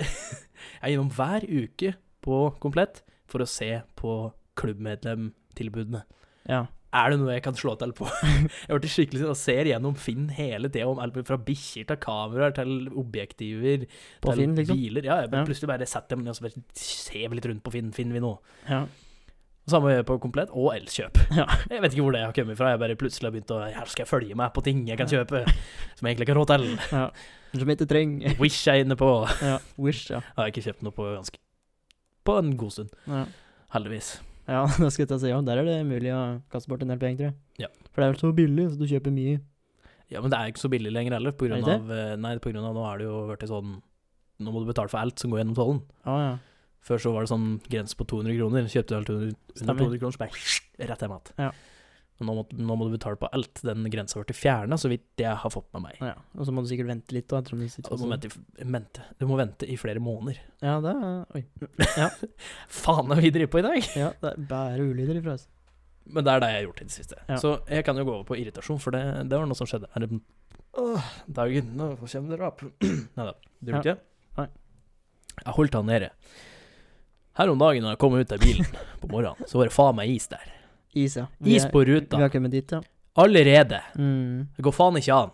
A: Jeg er innom hver uke på Komplett for å se på klubbmedlemtilbudene.
B: ja.
A: Er det noe jeg kan slå til på? Jeg ble skikkelig sånn og ser gjennom Finn hele tida, om alt fra bikkjer til kameraer til objektiver
B: På
A: til
B: Finn, liksom.
A: biler. Ja, jeg bare
B: Ja.
A: plutselig bare setter dem ned og så bare ser vi litt rundt på Finn. Finner vi noe?
B: Ja.
A: Samme gjør jeg på Komplett og Elkjøp.
B: Ja.
A: Jeg vet ikke hvor det har kommet fra. Jeg bare plutselig har begynt å Her skal jeg følge med på ting jeg kan kjøpe som jeg egentlig ikke har råd til.
B: Som jeg ikke trenger.
A: Wish jeg er inne på.
B: Ja. Wish, ja.
A: Jeg har ikke kjøpt noe på ganske På en god stund,
B: ja.
A: heldigvis.
B: Ja, det skulle jeg til å si. Ja. Der er det mulig å kaste bort en del penger, tror jeg.
A: Ja.
B: For det er vel så billig, så du kjøper mye.
A: Ja, men det er jo ikke så billig lenger heller, på grunn
B: Er det
A: av eh, Nei, på grunn av nå er det jo blitt sånn Nå må du betale for alt som går gjennom tollen.
B: Ja, ja.
A: Før så var det sånn grense på 200 kroner. Kjøpte du alt under under
B: Stemmer.
A: 200 kroner, så bare rett hjem igjen.
B: Ja.
A: Og Nå, må- nå må du betale på alt. Den grensa ble fjerna, så vidt jeg har fått med meg.
B: ja. Og så må du sikkert vente litt, da. Ettersom det
A: Du
B: sitter
A: må,
B: også.
A: vente, i f- vente. du må vente i flere måneder.
B: Ja, det er Oi.
A: Faen, er vi driver på i dag?
B: Ja, det er bare ulyder ifra oss.
A: Men det er det jeg har gjort i det siste.
B: Ja.
A: Så jeg kan jo gå over på irritasjon, for det, det var noe som skjedde her om dagen. Nå kommer dere opp. Nei da, du gjorde ikke det?
B: Nei.
A: Jeg holdt han nede. Her om dagen da jeg kom ut av bilen på morgenen, så var det faen meg is der.
B: Is, ja. Vi
A: Is
B: er-
A: på
B: Vi
A: ruta.
B: har kommet dit, ja.
A: Allerede.
B: Mm.
A: Det går faen ikke an.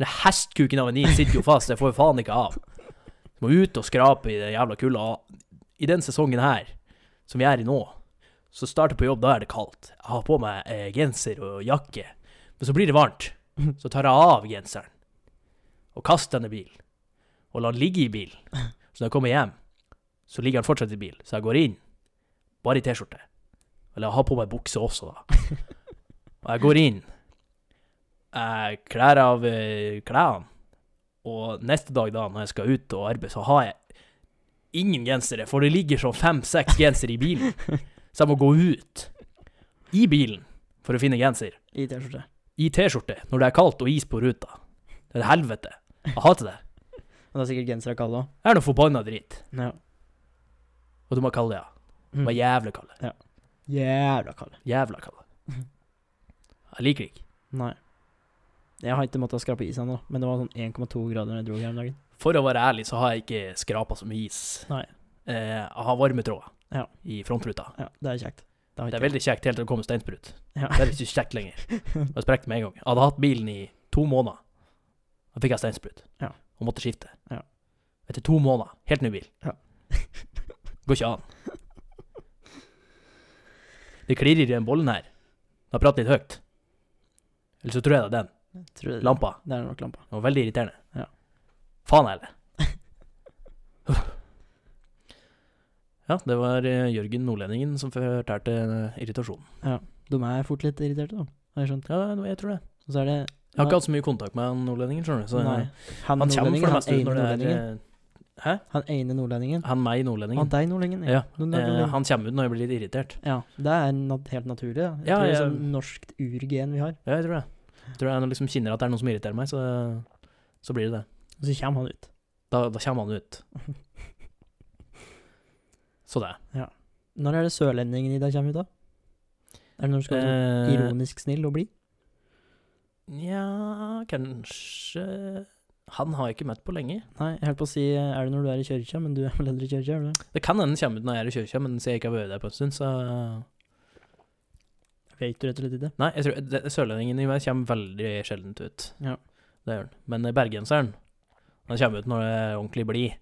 A: Den hestkuken av en is sitter jo fast, jeg får faen ikke av. Du må ut og skrape i det jævla kulda. I den sesongen her, som vi er i nå, så starter på jobb, da er det kaldt. Jeg har på meg eh, genser og jakke. Men så blir det varmt. Så tar jeg av genseren og kaster den i bilen. Og lar den ligge i bilen. Så når jeg kommer hjem, så ligger den fortsatt i bilen. Så jeg går inn, bare i T-skjorte. Eller jeg har på meg bukse også, da. Og jeg går inn, jeg klær av eh, klærne. Og neste dag, da, når jeg skal ut og arbeide, så har jeg ingen gensere, for det ligger sånn fem-seks gensere i bilen. Så jeg må gå ut i bilen for å finne genser.
B: I T-skjorte.
A: I T-skjorte, når det er kaldt og is på ruta. Det er et helvete. Jeg hater det.
B: Og det er sikkert genser av Kalle òg.
A: Det er noe forbanna dritt.
B: Ja.
A: Og du må kalle det, ja. Du
B: Mm.
A: må jævla kalle det.
B: Jævla Kalle.
A: Jævla kalle det. Jeg liker det ikke.
B: Nei. Jeg har ikke måttet skrape is ennå, da, men det var sånn 1,2 grader når jeg dro her om dagen.
A: For å være ærlig, så har jeg ikke skrapa så mye is.
B: Nei.
A: Eh, jeg har varmetråder
B: Ja.
A: i frontruta.
B: Ja, det er kjekt. har
A: Det er
B: ikke jeg.
A: veldig kjekt helt til det kommer steinsprut.
B: Ja.
A: Det er ikke kjekt lenger. Jeg sprekte med en gang. Jeg hadde hatt bilen i to måneder. Da fikk jeg steinsprut.
B: Ja.
A: Og måtte skifte.
B: Ja.
A: Etter to måneder. Helt ny bil.
B: Ja.
A: Går ikke an. Det klirrer i den bollen her. Den har pratet litt høyt. Eller så tror jeg det er den.
B: Tror jeg det-
A: Lampa.
B: Det er nok lampa.
A: Det var veldig irriterende.
B: Ja.
A: Faen heller. ja, det var eh, Jørgen Nordlendingen som fortalte eh, irritasjonen.
B: De er fort litt irriterte, da, har jeg skjønt.
A: Ja, det- jeg tror det.
B: Og så er det
A: Jeg har ikke hatt så mye kontakt med han nordlendingen, skjønner du. Så
B: Nei.
A: Han,
B: Han,
A: kommer
B: nordlendingen,
A: for det
B: han
A: meste ut
B: ene
A: når det
B: nordlendingen.
A: er eh,
B: Han ene nordlendingen.
A: Han meg
B: Han
A: nordlendingen.
B: deg nordlendingen.
A: Ja,
B: Du er
A: eh,
B: nordlending.
A: han kommer ut når jeg blir litt irritert.
B: Ja, det er nat helt naturlig. Da. Jeg
A: Ja,
B: tror det er
A: jeg-
B: sånn norskt urgen vi har.
A: Ja, jeg tror det. Jeg tror jeg liksom kjenner at det er noen som irriterer meg, så, så blir det det.
B: Og så kommer han ut.
A: Da, da kommer han ut. Så det.
B: Når er det sørlendingen i deg kommer ut, da? Er det når du skal være sånn
A: Eh,
B: ironisk snill og blid?
A: Nja, kanskje Han har jeg ikke møtt på lenge.
B: Nei, jeg holdt på å si eh, er det når du er i kirka, men du er vel aldri i kirka, er du det?
A: Det kan hende den kommer ut når jeg er i kirka, men siden jeg ikke har vært der på en stund, så
B: Vet du rett og slett ikke?
A: Nei, jeg tror det- sørlendingen i meg kommer veldig sjeldent ut.
B: Ja.
A: Det gjør den. Men bergenseren, han kommer ut når det er ordentlig blid.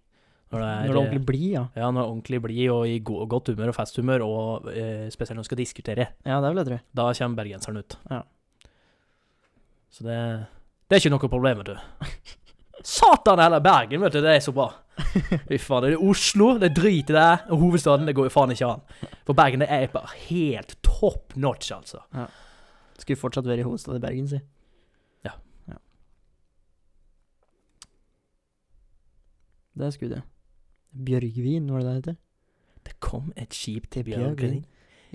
A: Når det er,
B: Når du er ordentlig blid, ja.
A: Ja, når det er ordentlig blid og i go godt humør og festhumør, og eh, spesielt når du skal diskutere.
B: Ja, det er vel det, tror jeg.
A: Da kommer bergenseren ut.
B: Ja.
A: Så det, det er ikke noe problem, vet du. Satan heller, Bergen, vet du. Det er så bra. Fy faen. Det er Oslo, det driter i det. Og hovedstaden, det går jo faen ikke an. For Bergen, det er bare helt top notch, altså.
B: Skulle fortsatt være i hovedstaden i Bergen, si.
A: Ja.
B: ja. Det skulle det. Bjørgvin, var det det heter?
A: Det kom et skip til
B: Til Bjørgen
A: Bjørgen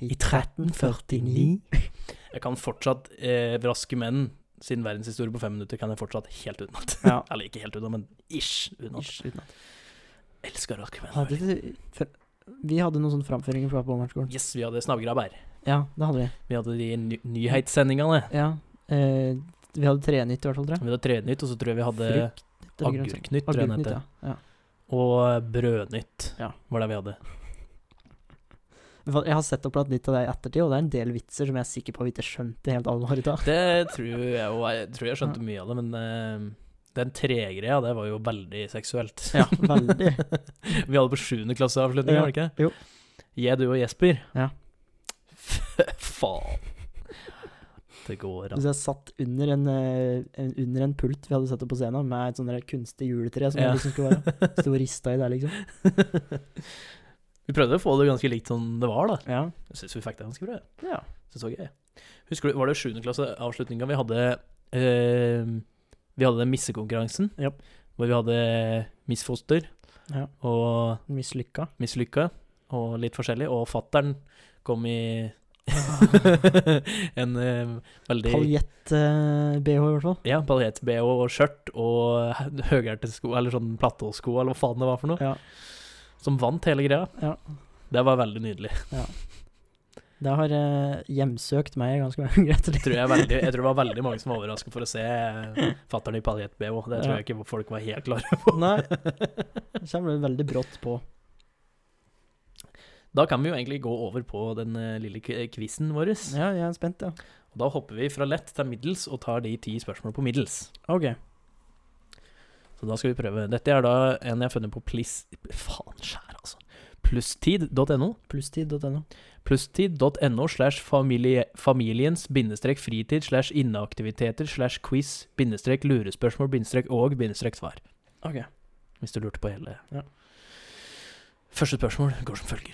A: i 1349. Jeg kan fortsatt eh, Raske menn sin verdenshistorie på fem minutter kan jeg fortsatt helt utenat.
B: Ja.
A: Eller ikke helt utenat, men ish utenat.
B: Ish, uten at-
A: Elsker Raske menn.
B: Hadde det, for, vi hadde noen sånne framføringer fra Blåmarksskolen.
A: Yes, vi hadde snabbegrabber.
B: Ja, det hadde vi.
A: Vi hadde de ny nyhetssendingene.
B: Ja. Eh, vi hadde trenytt i hvert fall, tror jeg.
A: Vi hadde Trenytt, og så tror jeg vi hadde
B: Frukt, Det er grønnsak.
A: Agurknytt, tror jeg den
B: Agurknytt,
A: heter.
B: ja. Ja.
A: Og Brødnytt
B: Ja.
A: var det vi hadde.
B: Men faen, Jeg har sett opp litt av det i ettertid, og det er en del vitser som jeg er sikker på vi ikke skjønte helt alvoret av.
A: Det tror jeg jo Jeg tror jeg skjønte mye av det, men eh, den tregreia, det var jo veldig seksuelt.
B: Ja, veldig.
A: vi hadde på sjuende klasseavslutning,
B: Ja,
A: var det ikke?
B: jo.
A: Jeg, du og Jesper.
B: Ja.
A: Faen. Det går an.
B: Så jeg satt under en, eh, en, under en pult vi hadde satt opp på scenen, med et sånt der kunstig juletre som
A: Ja.
B: jeg liksom skulle være. Sto og rista i der, liksom.
A: vi prøvde å få det ganske likt som det var, da.
B: Ja.
A: Jeg syns vi fikk det ganske bra.
B: ja.
A: Så så jeg. Husker du, var det 7. klasseavslutninga vi hadde eh, Vi hadde den missekonkurransen?
B: Japp.
A: Hvor vi hadde Miss Foster
B: Ja.
A: og
B: Mislykka.
A: Miss Lykke og litt forskjellig. Og fattern kom i
B: Ah.
A: en eh, veldig
B: Paljett-BH, eh, i hvert fall.
A: Ja, paljett-BH og skjørt og hø- høyhælte sko, eller sånn platåsko, eller hva faen det var for noe.
B: Ja.
A: Som vant hele greia.
B: Ja.
A: Det var veldig nydelig.
B: Det har eh, hjemsøkt meg ganske mange ganger.
A: Tror jeg, veldig, jeg tror det var veldig mange som var overraska for å se eh, fattern i paljett-BH. Det tror
B: Ja.
A: jeg ikke folk var helt klare
B: Nei. Det kommer veldig brått på.
A: Da kan vi jo egentlig gå over på den eh, lille quizen vår.
B: Ja, jeg er spent, ja.
A: Og da hopper vi fra lett til middels og tar de ti spørsmålene på middels.
B: Ok.
A: Så da skal vi prøve. Dette er da en jeg har funnet på plis... Faen skjær, altså. Plusstid.no.
B: Plusstid.no.
A: Plusstid.no slash familie- familiens bindestrek fritid slash inneaktiviteter slash quiz bindestrek lurespørsmål bindestrek og bindestrek svar.
B: Ok.
A: Hvis du lurte på hele
B: Ja.
A: Første spørsmål går som følger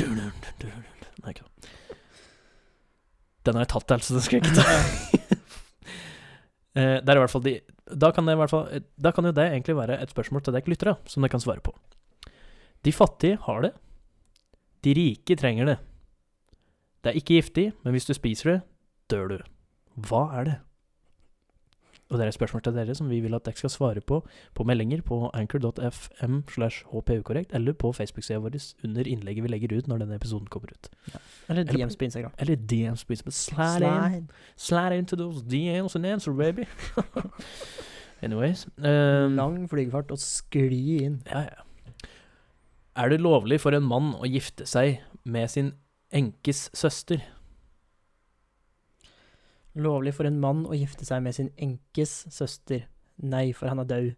A: Dun-dun, dun-dun. Nei, ikke sant. Den har jeg tatt, altså. Den skal jeg ikke ta. Eh, det er i hvert fall de Da kan, det i hvert fall, eh, da kan jo det egentlig være et spørsmål til dere lyttere, som dere kan svare på. De fattige har det. De rike trenger det. Det er ikke giftig, men hvis du spiser det, dør du. Hva er det? Og det er et spørsmål til dere som vi vil at dere skal svare på på meldinger på anchor.fm slash hpukorrekt, eller på Facebook-sida vår under innlegget vi legger ut når denne episoden kommer ut.
B: Eller
A: Eller
B: DMs på Instagram.
A: Eller DMs på Instagram. Slide in. Slide into those DMs and answer, baby. Anyways. ehm,
B: Lang flygefart og skli inn.
A: ja, ja. Er det lovlig for en mann å gifte seg med sin enkes søster?
B: Lovlig for en mann å gifte seg med sin enkes søster. Nei, for han er død.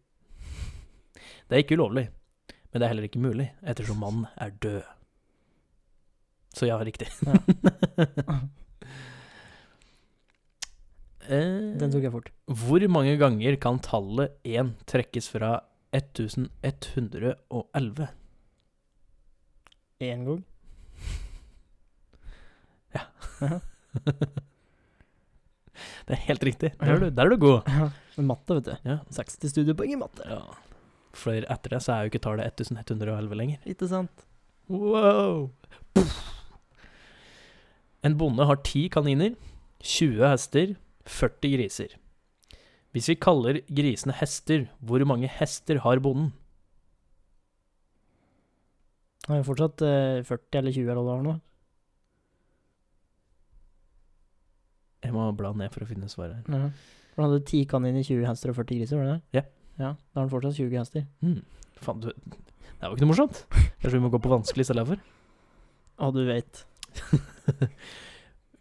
A: Det er ikke ulovlig, men det er heller ikke mulig, ettersom mannen er død. Så ja, riktig. Eh,
B: Den tok jeg fort.
A: Hvor mange ganger kan tallet 1 trekkes fra 1111?
B: Én gang.
A: Det er helt riktig. Der er du, der er du god.
B: Men matte, vet du.
A: Ja.
B: 60 studiepoeng i matte.
A: Ja. For etter det så er jo ikke tallet 1111 lenger.
B: Ikke sant?
A: Wow! En bonde har 10 kaniner, 20 hester, 40 griser. Hvis vi kaller grisene hester, hvor mange hester har bonden?
B: Han er jo fortsatt eh, 40 eller 20 eller hva det var nå.
A: Jeg må bla ned for å finne svaret her.
B: Ja. For han hadde 10 kaniner, 20 hester og 40 griser, var det det?
A: Ja.
B: Ja, Da har han fortsatt 20 hester.
A: Hmm. Faen, du Det er jo ikke noe morsomt. Kanskje vi må gå på vanskelig i stedet for.
B: Å, du veit.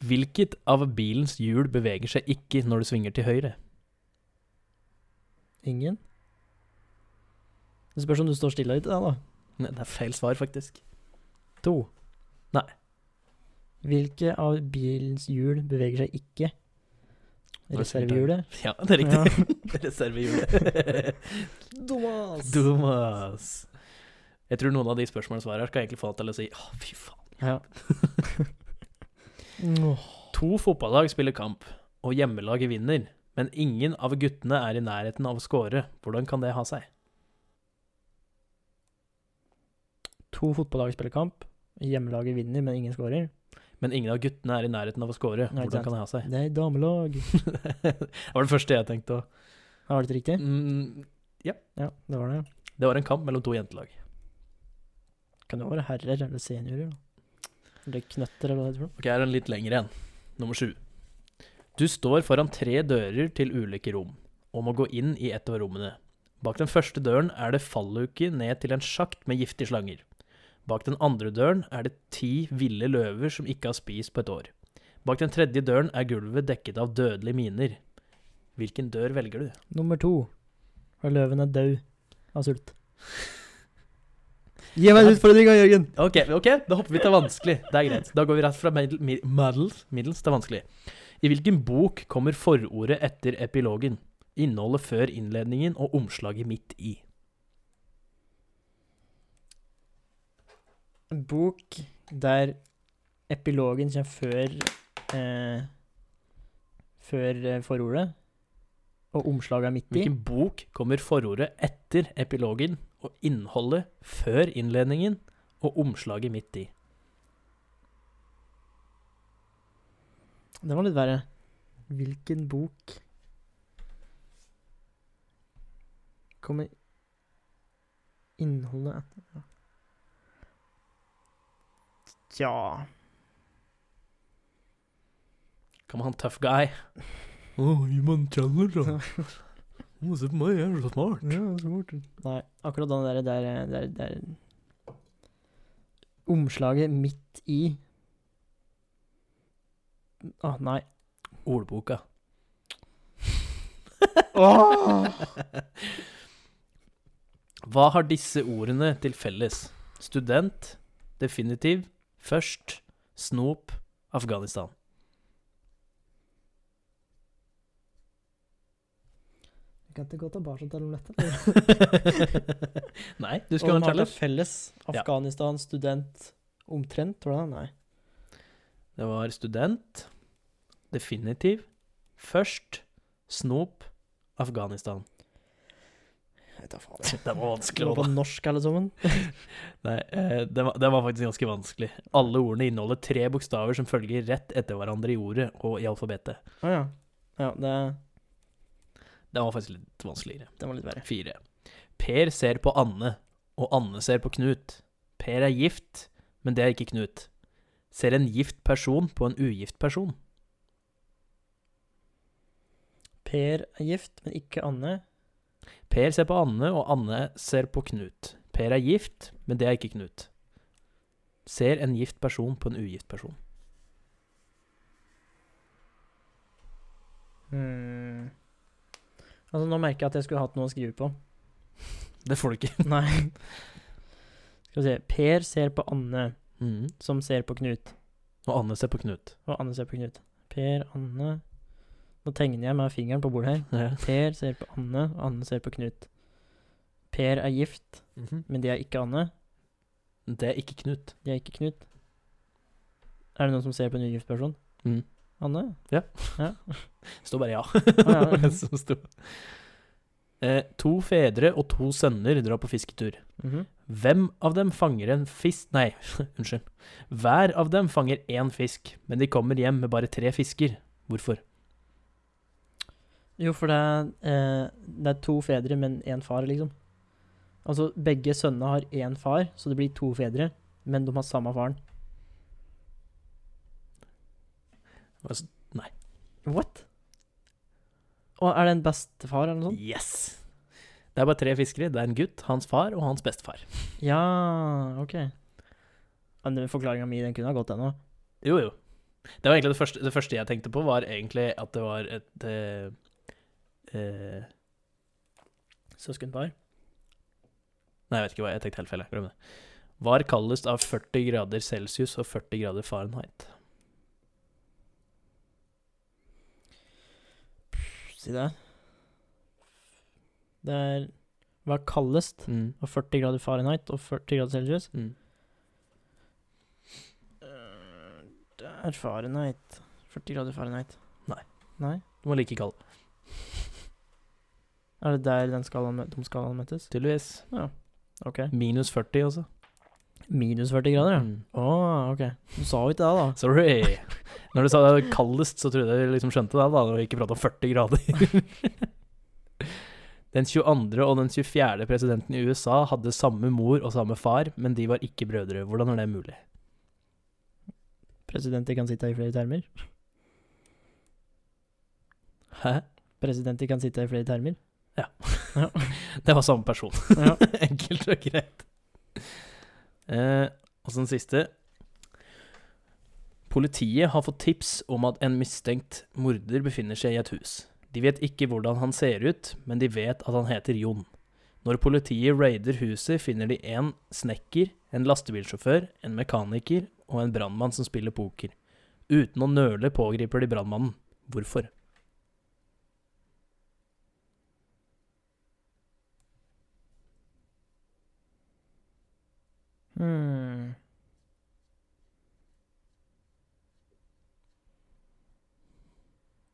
A: Hvilket av bilens hjul beveger seg ikke når du svinger til høyre?
B: Ingen? Det spørs om du står stille litt, da.
A: Nei, det er feil svar, faktisk. To.
B: Hvilke av bilens hjul beveger seg ikke?
A: Hva sier du?
B: Reservehjulet?
A: Ja, det er riktig. Reservehjulet.
B: Dumas!
A: Dumas. Jeg tror noen av de spørsmålene og svarene her skal egentlig få deg til å si Åh, fy faen.
B: Ja.
A: To fotballag spiller kamp, og hjemmelaget vinner. Men ingen av guttene er i nærheten av å score. Hvordan kan det ha seg?
B: To fotballag spiller kamp. Hjemmelaget vinner, men ingen skårer.
A: Men ingen av guttene er i nærheten av å score.
B: Nei,
A: Hvordan
B: ikke
A: kan det ha seg?
B: Det er damelag.
A: det var det første jeg tenkte òg.
B: Har det ikke riktig?
A: Mm,
B: Ja, det var det.
A: det var en kamp mellom to jentelag.
B: Kan det være herrer eller seniorer? Da? Eller knøtter, eller hva det heter. for noe?
A: Ok, her er en litt lengre en. Nummer sju. Du står foran tre dører til ulike rom, og må gå inn i et av rommene. Bak den første døren er det falluke ned til en sjakt med giftige slanger. Bak den andre døren er det ti ville løver som ikke har spist på et år. Bak den tredje døren er gulvet dekket av dødelige miner. Hvilken dør velger du?
B: Nummer to. Og løven er død av sult. Gi meg en utfordring, da, Jørgen!
A: Ok, ok, da hopper vi til vanskelig. Det er greit. Da går vi rett fra middel, mid- middels, middels til vanskelig. I hvilken bok kommer forordet etter epilogen? Innholdet før innledningen og omslaget midt i.
B: En bok der epilogen kommer før eh, Før eh, forordet. Og omslaget er midt i.
A: Hvilken bok kommer forordet etter epilogen og innholdet før innledningen og omslaget midt i?
B: Den var litt verre. Hvilken bok Kommer innholdet etter ja. Tja
A: Come on, tough guy. Oh, gi meg en challenge, Må se på meg, jeg er så smart.
B: Nei, akkurat den der, der, der, der Omslaget midt i Å, nei.
A: Ordboka. Hva har disse ordene til felles? Student, definitiv, først, snop, Afghanistan.
B: Jeg kan ikke gå tilbake til dette.
A: Nei, du skal ha en challenge.
B: Felles.
A: Ja.
B: Afghanistan, student, omtrent, var det? Nei.
A: Det var student, definitiv, først, snop, Afghanistan.
B: Jeg vet da faen.
A: Det var
B: Det
A: vanskelig
B: var
A: også,
B: på norsk, alle sammen.
A: da. Nei, eh, det var, det var faktisk ganske vanskelig. Alle ordene inneholder tre bokstaver som følger rett etter hverandre i ordet og i alfabetet.
B: Å ja. Ja, det,
A: Det var faktisk litt vanskeligere.
B: den var litt verre.
A: Fire. Per ser på Anne, og Anne ser på Knut. Per er gift, men det er ikke Knut. Ser en gift person på en ugift person?
B: Per er gift, men ikke Anne.
A: Per ser på Anne, og Anne ser på Knut. Per er gift, men det er ikke Knut. Ser en gift person på en ugift person?
B: Hmm. Altså, nå merker jeg at jeg skulle hatt noe å skrive på.
A: Det får du ikke.
B: Nei. Skal vi se. Per ser på Anne, som ser på Knut.
A: Og Mm. Anne ser på Knut.
B: Og Anne ser på Knut. Per, Anne Nå tegner jeg med fingeren på bordet her.
A: Ja.
B: Per ser på Anne, og Anne ser på Knut. Per er gift,
A: Mhm.
B: men de er ikke Anne.
A: Det er ikke Knut.
B: De er ikke Knut. Er det noen som ser på en ugift person?
A: Mm.
B: Anne?
A: Det står bare ja.
B: ja.
A: Det som sto. Eh, to fedre og to sønner drar på fisketur.
B: Mhm.
A: Hvem av dem fanger en fisk Nei, unnskyld. Hver av dem fanger én fisk, men de kommer hjem med bare tre fisker. Hvorfor?
B: Jo, for det er, eh, det er to fedre, men én far, liksom. Altså, begge sønnene har én far, så det blir to fedre, men de har samme faren.
A: Altså, nei.
B: What? Og er det en bestefar eller noe sånt?
A: Yes! Det er bare tre fiskere. Det er en gutt, hans far og hans bestefar.
B: Ja, OK. Ja, den Forklaringa mi, den kunne ha gått ennå.
A: Jo, jo. Det var egentlig det første, det første jeg tenkte på, var egentlig at det var et eh, eh,
B: Søskenpar.
A: Nei, jeg vet ikke hva jeg tenkte helt feil. jeg. Glem det. Var kaldest av 40 grader celsius og 40 grader Fahrenheit.
B: Si det. Det er Hva er kaldest?
A: Mm.
B: Og 40 grader Fahrenheit og 40 grader celsius?
A: Mm.
B: Eh, Det er Fahrenheit. 40 grader Fahrenheit.
A: Nei.
B: Nei?
A: Du må like kald.
B: Er det der den skalaen, mø- de skalaen møtes?
A: Tydeligvis.
B: Ok.
A: Minus 40 også.
B: Minus 40 grader, ja.
A: Mm.
B: Å, ok. Du sa jo ikke det, da.
A: Sorry. Når du sa det var kaldest, så trodde jeg du liksom skjønte det, da, når vi ikke pratet om 40 grader. Den 22. og den 24. presidenten i USA hadde samme mor og samme far, men de var ikke brødre. Hvordan er det mulig?
B: Presidenter kan sitte her i flere termer.
A: Hæ?
B: Presidenter kan sitte her i flere termer.
A: Det var samme person.
B: Ja.
A: Enkelt og greit. Eh, og så den siste. Politiet har fått tips om at en mistenkt morder befinner seg i et hus. De vet ikke hvordan han ser ut, men de vet at han heter Jon. Når politiet raider huset, finner de en snekker, en lastebilsjåfør, en mekaniker og en brannmann som spiller poker. Uten å nøle pågriper de brannmannen. Hvorfor?
B: Hmm.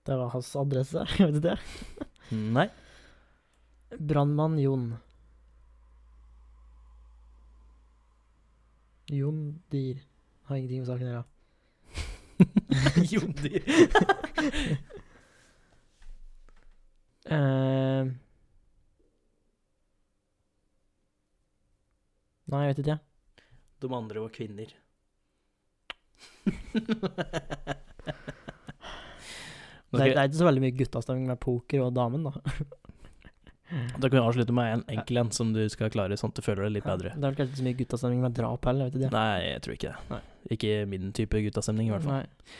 B: Det var hans adresse, vet du det?
A: Nei.
B: Brannmann Jon. Jon Dyr. Har ingenting med saken å gjøre.
A: Jon Dyr.
B: Eh, Nei, jeg vet ikke. jeg.
A: De andre var kvinner.
B: Det, er- det er ikke så veldig mye guttastemning med poker og damen, da.
A: Da kan vi avslutte med en enkel en som du skal klare, sånn at du føler deg litt bedre.
B: Det er vel kanskje ikke så mye guttastemning med drap heller, jeg vet ikke. det.
A: Nei, jeg tror ikke det.
B: Nei.
A: Ikke min type guttastemning, i hvert fall.
B: Nei.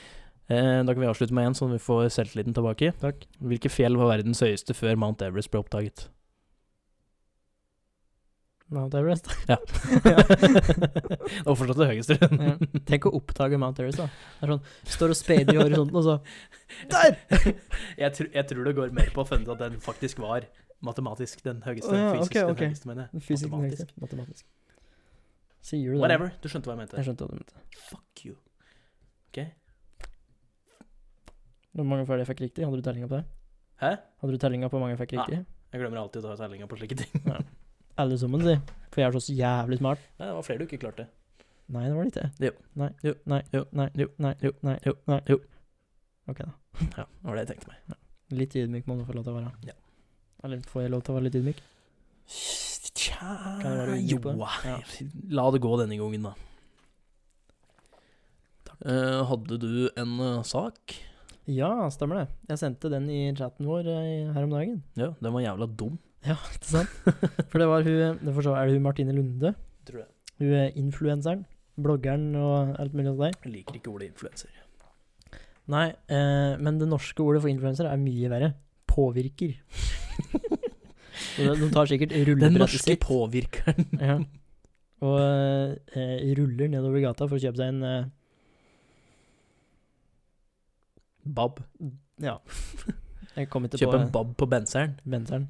A: Eh, da kan vi avslutte med en, sånn at vi får selvtilliten tilbake.
B: Takk.
A: Hvilke fjell var verdens høyeste før Mount Everest ble oppdaget?
B: Mount Everest.
A: det var fortsatt det høyeste.
B: Ja. Tenk å oppdage Mount Everest, da. Det er sånn, Står og speider i horisonten, og så
A: Der! jeg, tr jeg tror det går mer på å finne ut at den faktisk var matematisk den høyeste.
B: Å ja,
A: fysisk
B: ok,
A: den
B: ok.
A: høyeste, mener jeg.
B: Fysisk den
A: Matematisk.
B: høyeste. Matematisk. Sier du det?
A: Whatever. Du skjønte hva jeg mente.
B: Jeg skjønte hva du mente.
A: Fuck you.
B: Hvor mange flere jeg fikk riktig? Hadde du tellinga på det?
A: Hæ?
B: Hadde du tellinga på hvor mange jeg fikk
A: Nei.
B: riktig?
A: Jeg glemmer alltid å ta terninga på slike ting.
B: Alle sammen, si. For jeg er så jævlig smart.
A: Nei, det var flere du ikke klarte.
B: Nei, det var det ikke.
A: Jo.
B: Nei.
A: Jo.
B: Nei.
A: Jo.
B: Nei.
A: Jo.
B: Nei.
A: Jo.
B: Nei.
A: Jo.
B: Nei.
A: Jo.
B: Ok, da.
A: Ja, det var det jeg tenkte meg.
B: Litt ydmyk må du få lov til å være.
A: Ja.
B: Eller får jeg lov til å være litt ydmyk?
A: Tja
B: Kan det være du
A: Jo,
B: gikk på det? Ja.
A: la det gå denne gangen, da. Eh, hadde du en eh, sak?
B: Ja, stemmer det. Jeg sendte den i chatten vår eh, her om dagen.
A: Ja, den var jævla dum.
B: Ja, ikke sant? For det var hun det for så Er det hun Martine Lunde?
A: Tror jeg.
B: Hun er influenseren. Bloggeren og alt mulig sånt der.
A: jeg liker ikke ordet influenser.
B: Nei, eh, men det norske ordet for influenser er mye verre. Påvirker. Så det- De tar sikkert
A: Den
B: rullebrettet
A: norske
B: sitt.
A: påvirkeren.
B: Ja. Og eh, ruller nedover gata for å kjøpe seg en eh,
A: Bab.
B: Ja. Jeg kom ikke
A: Kjøp en
B: på
A: bab på benseren,
B: benseren.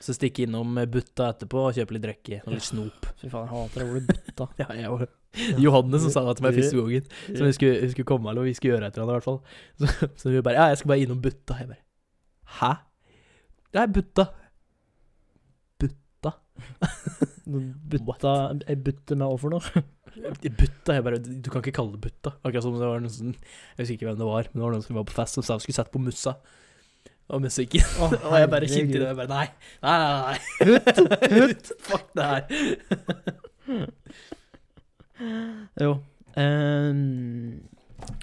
A: så stikk innom eh, butta etterpå og kjøp litt drikke og litt snop.
B: Fy faen, jeg hater det ordet butta.
A: Ja, jeg var Johanne som sa det til meg første gangen. Som vi
B: Det
A: skulle, vi skulle komme eller vi skulle gjøre et eller annet, i hvert fall. Så, så hun bare Ja, jeg skal bare innom butta. Jeg bare Hæ? Det er butta.
B: Butta Ei butte med over noe.
A: Butta, jeg bare Du kan ikke kalle det butta. Akkurat som det var noen som Jeg husker ikke hvem det var, men det var noen som var på fest som sa vi skulle sett på Mussa. Og musikken.
B: Å,
A: Og jeg bare kjente
B: herregud.
A: det. Jeg bare Nei, nei, nei. nei. Fuck det her.
B: Jo. Ehm,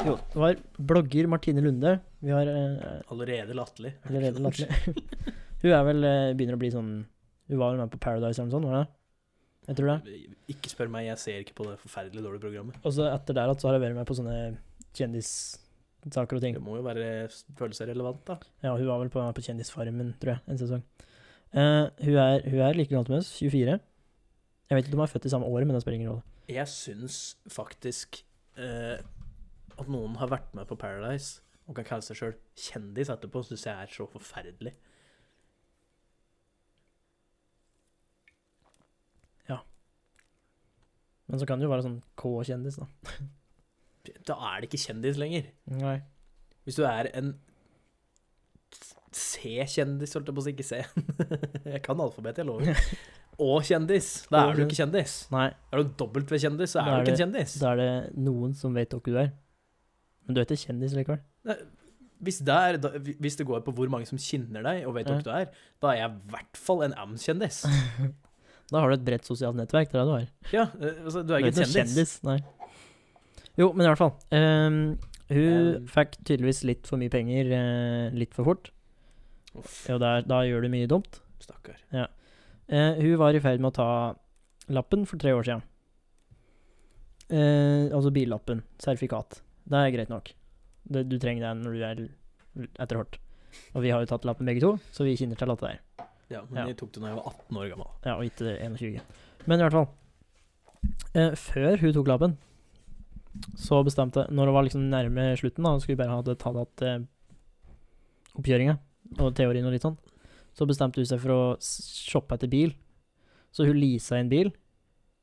B: jo, det var blogger Martine Lunde. Vi har eh,
A: Allerede latterlig.
B: allerede lagt ned. Hun er vel eh, begynner å bli sånn Hun var vel med på Paradise eller noe sånt, var det? Jeg tror det.
A: Ikke spør meg, jeg ser ikke på det forferdelig dårlige programmet.
B: Og så etter der at så har jeg vært med på sånne kjendissaker og ting.
A: Det må jo være følelse relevant, da.
B: Ja, hun var vel på, på Kjendisfarmen, tror jeg, en sesong. Eh, hun, er, hun er like gammel som oss, 24. Jeg vet ikke om hun er født i samme året, men det spiller ingen rolle.
A: Jeg syns faktisk eh, at noen har vært med på Paradise og kan kalle seg sjøl kjendis etterpå, syns jeg er så forferdelig.
B: Men så kan det jo være sånn K-kjendis, da.
A: Da er det ikke kjendis lenger.
B: Nei.
A: Hvis du er en C-kjendis, holdt jeg på å si, ikke C. jeg kan alfabetet, jeg lover. Og kjendis. Da er du ikke kjendis.
B: Nei,
A: Er du dobbelt ved kjendis, så er
B: Da
A: du
B: er
A: ikke en kjendis.
B: da er det noen som vet hvor du er. Men du er ikke kjendis likevel.
A: Nei, Hvis det, er, da, hvis det går på hvor mange som kjenner deg og vet
B: Ja.
A: hvem du er, da er jeg i hvert fall en M-kjendis.
B: Da har du et bredt sosialt nettverk. Det er det du har.
A: Ja, eh, altså, du er
B: Du
A: ikke en
B: noen
A: kjendis.
B: Nei. Jo, men i hvert fall. ehm, hun
A: Um.
B: fikk tydeligvis litt for mye penger eh, litt for fort,
A: Uff,
B: og der, da gjør du mye dumt.
A: stakkar.
B: Eh, hun var i ferd med å ta lappen for tre år siden. Eh, altså billappen. Sertifikat. Det er greit nok. Det, du trenger den når du er l- etter hvert. Og vi har jo tatt lappen begge to, så vi kjenner til at det er
A: Ja, men
B: Ja.
A: jeg tok det da jeg var 18 år gammel.
B: Ja, og ikke 21. Men i hvert fall. Eh, før hun tok lappen, så bestemte Når hun var liksom nærme slutten, da, og skulle bare ha det tatt att eh, oppkjøringa og teorien og litt sånn, så bestemte hun seg for å s- shoppe etter bil. Så hun leasa en bil.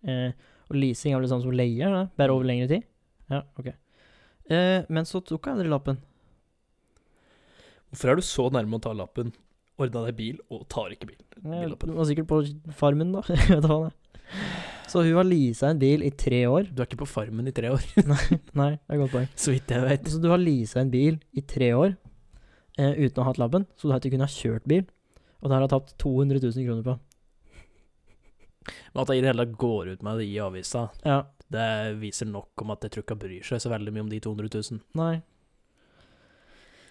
B: Eh, og leasing er vel det samme som leie, da, bare over lengre tid? Ja, OK. Eh, men så tok hun aldri lappen.
A: Hvorfor er du så nærme å ta lappen? Ordna deg bil og tar ikke bil.
B: Ja,
A: Billappen.
B: Eh, Hun var sikkert på farmen, da. Jeg vet hva det er. Så hun har leasa en bil i tre år.
A: Du er ikke på farmen i tre år,
B: Nei, det er et godt poeng.
A: så vidt jeg vet.
B: Så du har leasa en bil i tre år eh, uten å ha hatt lappen, så du har ikke kunnet ha kjørt bil. Og det her har jeg tapt 200 000 kroner på.
A: Men at jeg i det hele tatt går ut med det i avisa,
B: Ja,
A: det viser nok om at jeg tror ikke han bryr seg så veldig mye om de 200 000.
B: nei.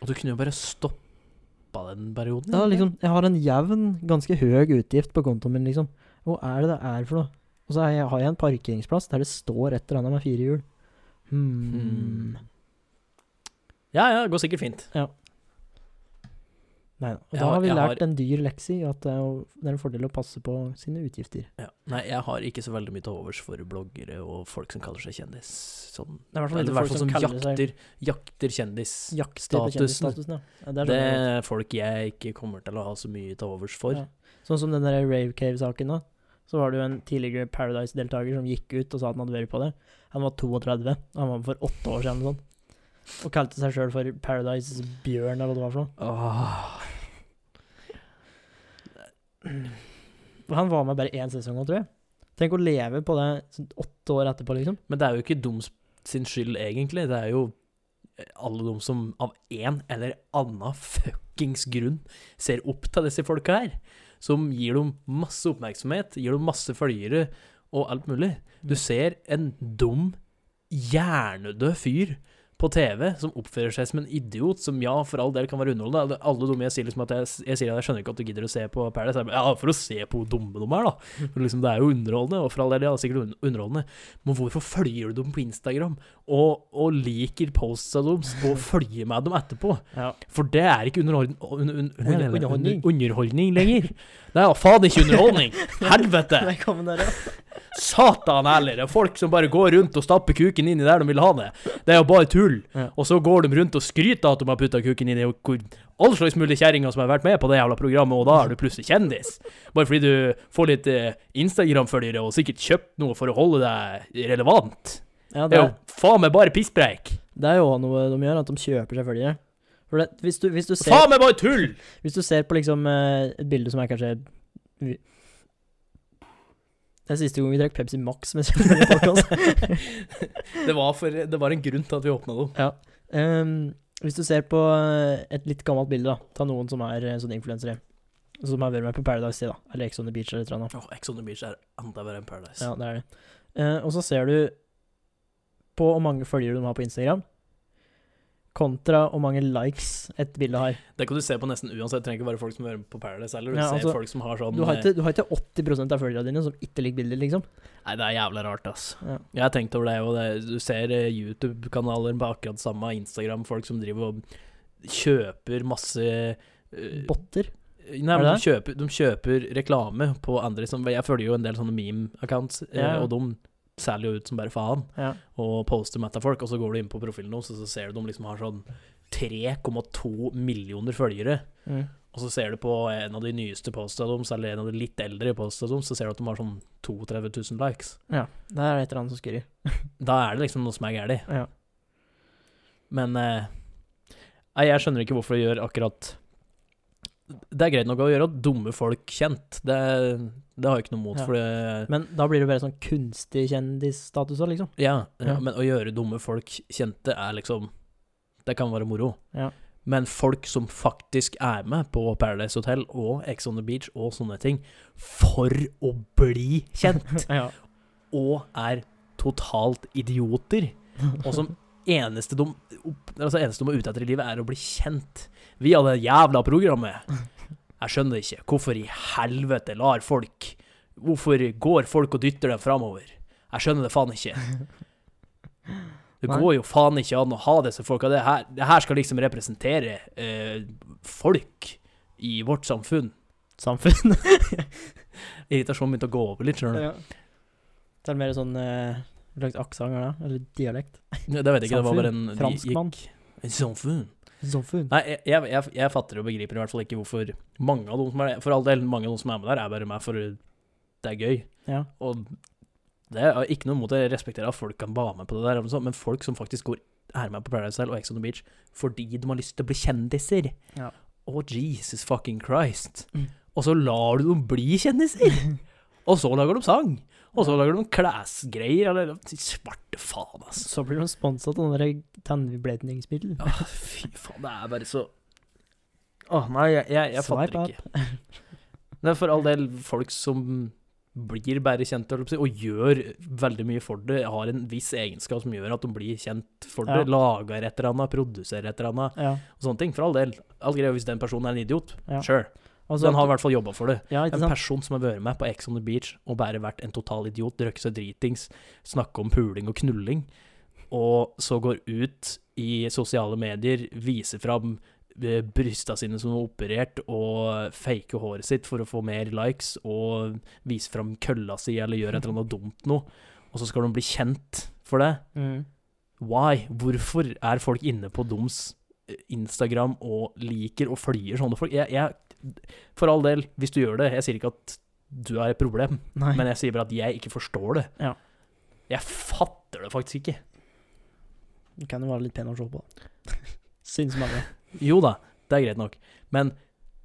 A: Og du kunne jo bare stoppa den perioden.
B: Jeg har, liksom, jeg har en jevn, ganske høy utgift på kontoen min, liksom. Hva er det det er for noe? Og så er jeg, har jeg en parkeringsplass der det står et eller annet med fire hjul. Hmm.
A: Hmm. Ja, ja, det går sikkert fint.
B: Nei da. Og
A: Jeg
B: da
A: har-
B: har vi
A: jeg
B: lært
A: har-
B: en dyr leksi at det er jo- det er en fordel å passe på sine utgifter.
A: Ja. Nei, jeg har ikke så veldig mye til overs for bloggere og folk som kaller seg kjendis. Sånn.
B: Det er i hvert
A: Eller i hvert fall som jakter, jakter kjendis.
B: jakter på
A: statusen.
B: kjendisstatusen. Ja. Ja, det er
A: det
B: sånn jeg-
A: er folk jeg ikke kommer til å ha så mye til overs for.
B: Ja. Sånn som den der Rave Cave-saken nå. Så var det jo en tidligere Paradise-deltaker som gikk ut og sa at han hadde vært på det. Han var 32. Han var med for åtte år siden eller sånn. Og kalte seg sjøl for Paradise Bjørn, eller hva det var for noe.
A: Åh.
B: Og han var med bare én sesong nå, tror jeg. Tenk å leve på det sånn åtte år etterpå, liksom.
A: Men det er jo ikke dums sin skyld, egentlig. Det er jo alle de som av en eller annen fuckings grunn ser opp til disse folka her. Som gir dem masse oppmerksomhet, gir dem masse følgere og alt mulig. Du ser en dum, hjernedød fyr på TV som oppfører seg som en idiot, som ja, for all del kan være underholdende. Alle dumme jeg sier liksom at jeg, jeg sier at jeg skjønner ikke at du gidder å se på Paradise. Jeg bare, Ja, for å se på hvor dumme de er, da. For liksom, det er jo underholdende, og for all del, ja, sikkert un- underholdende. Men hvorfor følger du dem på Instagram, og, og liker postsa deres, og følger med dem etterpå?
B: Ja.
A: For det er ikke underholdning un, un,
B: Under- underholdning.
A: underholdning lenger. Det er faen ikke underholdning! Helvete!
B: Velkommen dere.
A: Satan heller! Det er folk som bare går rundt og stapper kuken inn i der de vil ha det. Det er jo bare tull.
B: Ja.
A: Og så går de rundt og skryter av at de har putta kuken inn i og hvor- all slags mulige kjerringer som har vært med på det jævla programmet, og da er du plutselig kjendis. Bare fordi du får litt eh, Instagram-følgere og sikkert kjøpt noe for å holde deg relevant.
B: Ja,
A: Det
B: det,
A: er jo faen meg bare pisspreik.
B: det er jo også noe de gjør, at de kjøper seg følgere. For det, hvis, du, hvis, du ser,
A: Faen meg bare tull!
B: hvis du ser på liksom eh, et bilde som er kanskje vi- Det er siste gang vi drakk Pepsi Max mens vi gjorde podkast.
A: Det var, for, det var en grunn til at vi åpna dem.
B: Ehm, hvis du ser på eh, et litt gammelt bilde, da. Ta noen som er eh, sånne influensere. Som har vært med på Paradise Day, da. Eller Ex on the Beach eller et eller annet.
A: Oh, Ex on the Beach er enda verre enn Paradise.
B: Ja, det er det. Eh, og så ser du på hvor mange følgere de har på Instagram, kontra hvor mange likes et bilde har.
A: Det kan du se på nesten uansett. Det trenger ikke være folk som hører på Paradise heller. Du
B: Ja, altså,
A: ser folk som har sånn
B: Du har ikke, du har ikke 80 av følgerne dine som ikke liker bilder, liksom.
A: Nei, det er jævla rart, ass.
B: Ja.
A: Jeg har tenkt over det, og det, du ser eh, YouTube-kanaler på akkurat samme Instagram, folk som driver og kjøper masse eh,
B: Botter.
A: Nei,
B: Er
A: men de
B: det
A: kjøper, de kjøper reklame på andre som Jeg følger jo en del sånne meme-accounts, eh,
B: Ja.
A: og de selger jo ut som bare faen.
B: Ja.
A: og poster mett av folk, og så går du inn på profilen deres, og så ser du de liksom har sånn 3,2 millioner følgere.
B: Mm.
A: Og så ser du på en av de nyeste posta deres, eller en av de litt eldre posta deres, så ser du at de har sånn 32 000 likes.
B: ja. Der er det et eller annet som skurrer.
A: Da er det liksom noe som er galt.
B: Ja.
A: Men eh, nei, jeg skjønner ikke hvorfor de gjør akkurat Det er greit nok å gjøre dumme folk kjent, det, det har jeg ikke noe mot,
B: Ja.
A: for det
B: Men da blir det bare sånn kunstig kjendisstatus òg, liksom.
A: Ja, ja,
B: Ja.
A: men å gjøre dumme folk kjente er liksom Det kan være moro.
B: Ja.
A: Men folk som faktisk er med på Paradise Hotel og Ex on the Beach og sånne ting, for å bli kjent,
B: ja.
A: og er totalt idioter, og som eneste de, opp- altså eneste de er ute etter i livet, er å bli kjent via det jævla programmet. Jeg skjønner ikke. Hvorfor i helvete lar folk Hvorfor går folk og dytter dem framover? Jeg skjønner det faen ikke. Det
B: Nei.
A: går jo faen ikke an å ha disse folka. Det her, det her skal liksom representere eh, folk i vårt samfunn.
B: Samfunn.
A: Irritasjonen begynte å gå over litt, skjønner du.
B: ja. Så er det mer sånn eh, Hva slags aksent er det? Eller dialekt?
A: Det vet jeg ikke, det var bare en de
B: Franskmann.
A: gikk- Samfunn.
B: Samfunn.
A: Nei, jeg, jeg, jeg, jeg fatter og begriper i hvert fall ikke hvorfor mange av dem som er For all del, mange av dem som er med der, er bare med for det er gøy.
B: Ja.
A: Og det er ikke noe mot det. Jeg respekterer at folk kan være med på det der, og sånn, men folk som faktisk går er med på Paradise Hotel og Ex on the Beach fordi de har lyst til å bli kjendiser.
B: Ja.
A: Å, Jesus fucking Christ.
B: Mm.
A: Og så lar du dem bli kjendiser! og så lager de sang! Og så lager de klesgreier, eller svarte faen, altså.
B: Så blir de sponsa av sånne der tannbledningsmiddel.
A: Ja, fy faen, det er bare så Åh, nei, jeg, jeg, jeg fatter
B: Swipe
A: ikke. Det er for all del folk som blir bare kjent holdt jeg på å si, og gjør veldig mye for det, har en viss egenskap som gjør at de blir kjent for det,
B: Ja.
A: lager et eller annet, produserer et eller annet,
B: Ja.
A: og sånne ting. For all del. Alt greit hvis den personen er en idiot.
B: Ja.
A: Sure.
B: Altså,
A: Den har i hvert fall jobba for det.
B: ja, ikke
A: En
B: sant?
A: person som har vært med på Ex on the Beach og bare vært en total idiot, drukket seg dritings, snakket om puling og knulling, og så går ut i sosiale medier, viser fram eh, brysta sine som er operert, og faker håret sitt for å få mer likes, og viser fram kølla si eller gjør et eller annet dumt noe, og så skal de bli kjent for det.
B: Mm.
A: Why? Hvorfor er folk inne på Doms eh, Instagram og liker og følger sånne folk? Jeg, jeg, for all del, hvis du gjør det, jeg sier ikke at du er et problem,
B: Nei.
A: men jeg sier bare at jeg ikke forstår det.
B: Ja.
A: Jeg fatter det faktisk ikke.
B: Det kan jo være litt pen å se på. Syns mange.
A: Jo da, det er greit nok, men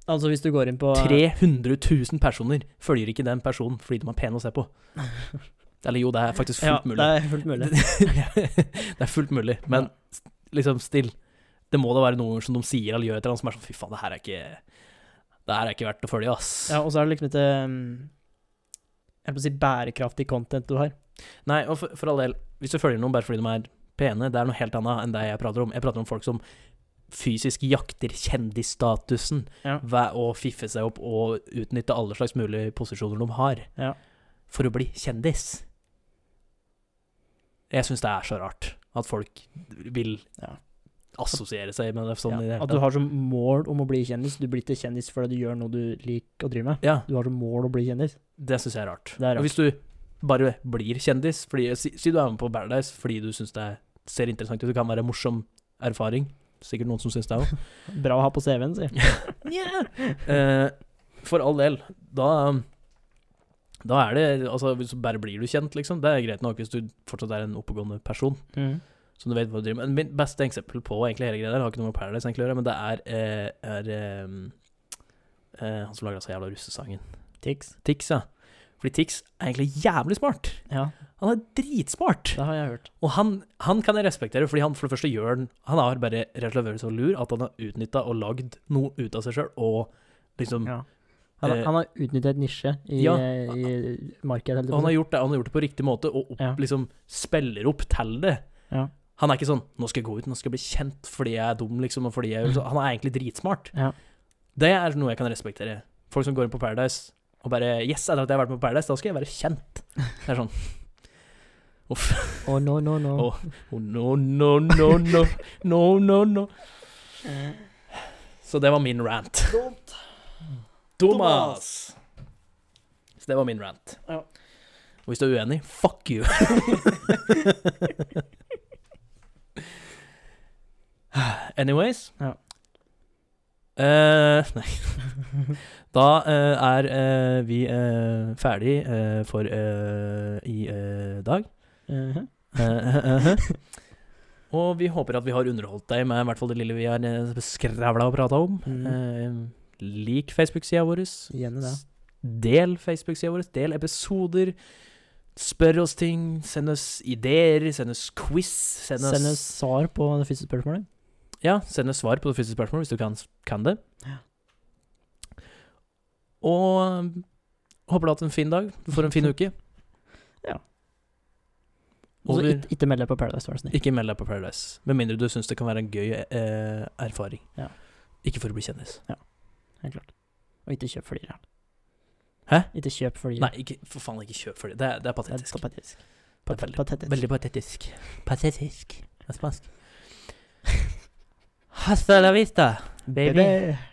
B: Altså, hvis du går inn på
A: 300 000 personer følger ikke den personen fordi de er pene å se på. Eller jo, det er faktisk
B: ja,
A: fullt mulig.
B: det er fullt mulig.
A: det er fullt mulig, men
B: Ja.
A: s- liksom still. Det må da være noe som de sier eller gjør et eller annet som er sånn fy faen, det her er ikke Det her er ikke verdt å følge, ass.
B: Ja, og så er det liksom ikke um, Jeg må si bærekraftig content du har.
A: Nei, og for, for all del, hvis du følger noen bare fordi de er pene, det er noe helt annet enn det jeg prater om. Jeg prater om folk som fysisk jakter kjendisstatusen
B: Ja.
A: ved å fiffe seg opp og utnytte alle slags mulige posisjoner de har,
B: Ja.
A: for å bli kjendis. Jeg syns det er så rart at folk vil
B: Ja.
A: assosiere seg med det sånn i det
B: ja.
A: hele
B: At du har som mål om å bli kjendis. Du blir ikke kjendis fordi du gjør noe du liker å drive med.
A: Ja,
B: Du har som mål å bli kjendis.
A: det syns jeg er rart.
B: Det er rart.
A: Og hvis du bare blir kjendis. Fordi, si, si du er med på Paradise fordi du syns det er- ser interessant ut, det kan være en morsom erfaring. Sikkert noen som syns det òg.
B: Bra å ha på CV-en, sier jeg.
A: Eh, for all del. Da da er det Altså, hvis du bare blir du kjent, liksom. Det er greit nok hvis du fortsatt er en oppegående person.
B: Mm.
A: Som du vet hva du driver med. Mitt beste eksempel på egentlig hele greia der, har ikke noe med Paradise egentlig å gjøre, men det er, eh, er eh, eh, han som laga seg jævla russesangen.
B: Tix.
A: Tix, ja. Fordi Tix er egentlig jævlig smart.
B: Ja,
A: Han er dritsmart.
B: det har jeg hørt.
A: Og han, han kan jeg respektere, fordi han for det første gjør den Han har bare rett og slett vært så lur at han har utnytta og lagd noe ut av seg sjøl, og liksom
B: Ja. Han, har-
A: Eh,
B: han har utnyttet et nisje i,
A: ja.
B: i markedet.
A: Og han har gjort det, han har gjort det på riktig måte, og opp,
B: Ja.
A: liksom spiller opp til det.
B: Ja.
A: Han er ikke sånn 'Nå skal jeg gå ut, nå skal jeg bli kjent fordi jeg er dum', liksom. Og fordi jeg, er- så han er egentlig dritsmart.
B: Ja.
A: Det er noe jeg kan respektere. Folk som går inn på Paradise og bare 'Yes, etter at jeg har vært med på Paradise, da skal jeg være kjent'. Det er sånn Uff.
B: Å, no, no, no.
A: Å. Oh, no, no, no, no. No, no, no. Så det var min rant. Thomas! Så det var min rant.
B: Ja.
A: Og hvis du er uenig, fuck you! Anyways
B: Ja.
A: Eh, Nei. Da eh, er eh, vi eh, ferdig eh, for eh, i eh, dag.
B: Mhm.
A: Eh, eh, eh, eh. Og vi håper at vi har underholdt deg med i hvert fall det lille vi har eh, skravla og prata om.
B: Mm.
A: Eh, lik Facebook-sida vår.
B: Gjerne det.
A: Del Facebook-sida vår. Del episoder. Spør oss ting. Send oss ideer. Send oss quiz. Send oss,
B: Send oss svar på det første spørsmålet.
A: Ja, send oss svar på det første spørsmålet hvis du kan, kan det.
B: Ja.
A: Og eh, håper du har hatt en fin dag. Du får en fin uke.
B: Ja. Altså, Og så
A: Over.
B: ikke- ikke meld deg på Paradise, vær så snill.
A: Ikke meld deg på Paradise, med mindre du syns det kan være en gøy eh, erfaring.
B: Ja.
A: Ikke for å bli kjendis.
B: Helt klart. Og ikke kjøp flyere.
A: Hæ?
B: Ikke kjøp flyere.
A: Nei, ikke, for faen, ikke kjøp for det. Det er, det er
B: Det er
A: patetisk.
B: patetisk.
A: Det er
B: Pat-
A: veldig-
B: Patetisk.
A: Veldig patetisk. Patetisk. Det er spansk. Hasta la vista, baby.
B: Baby.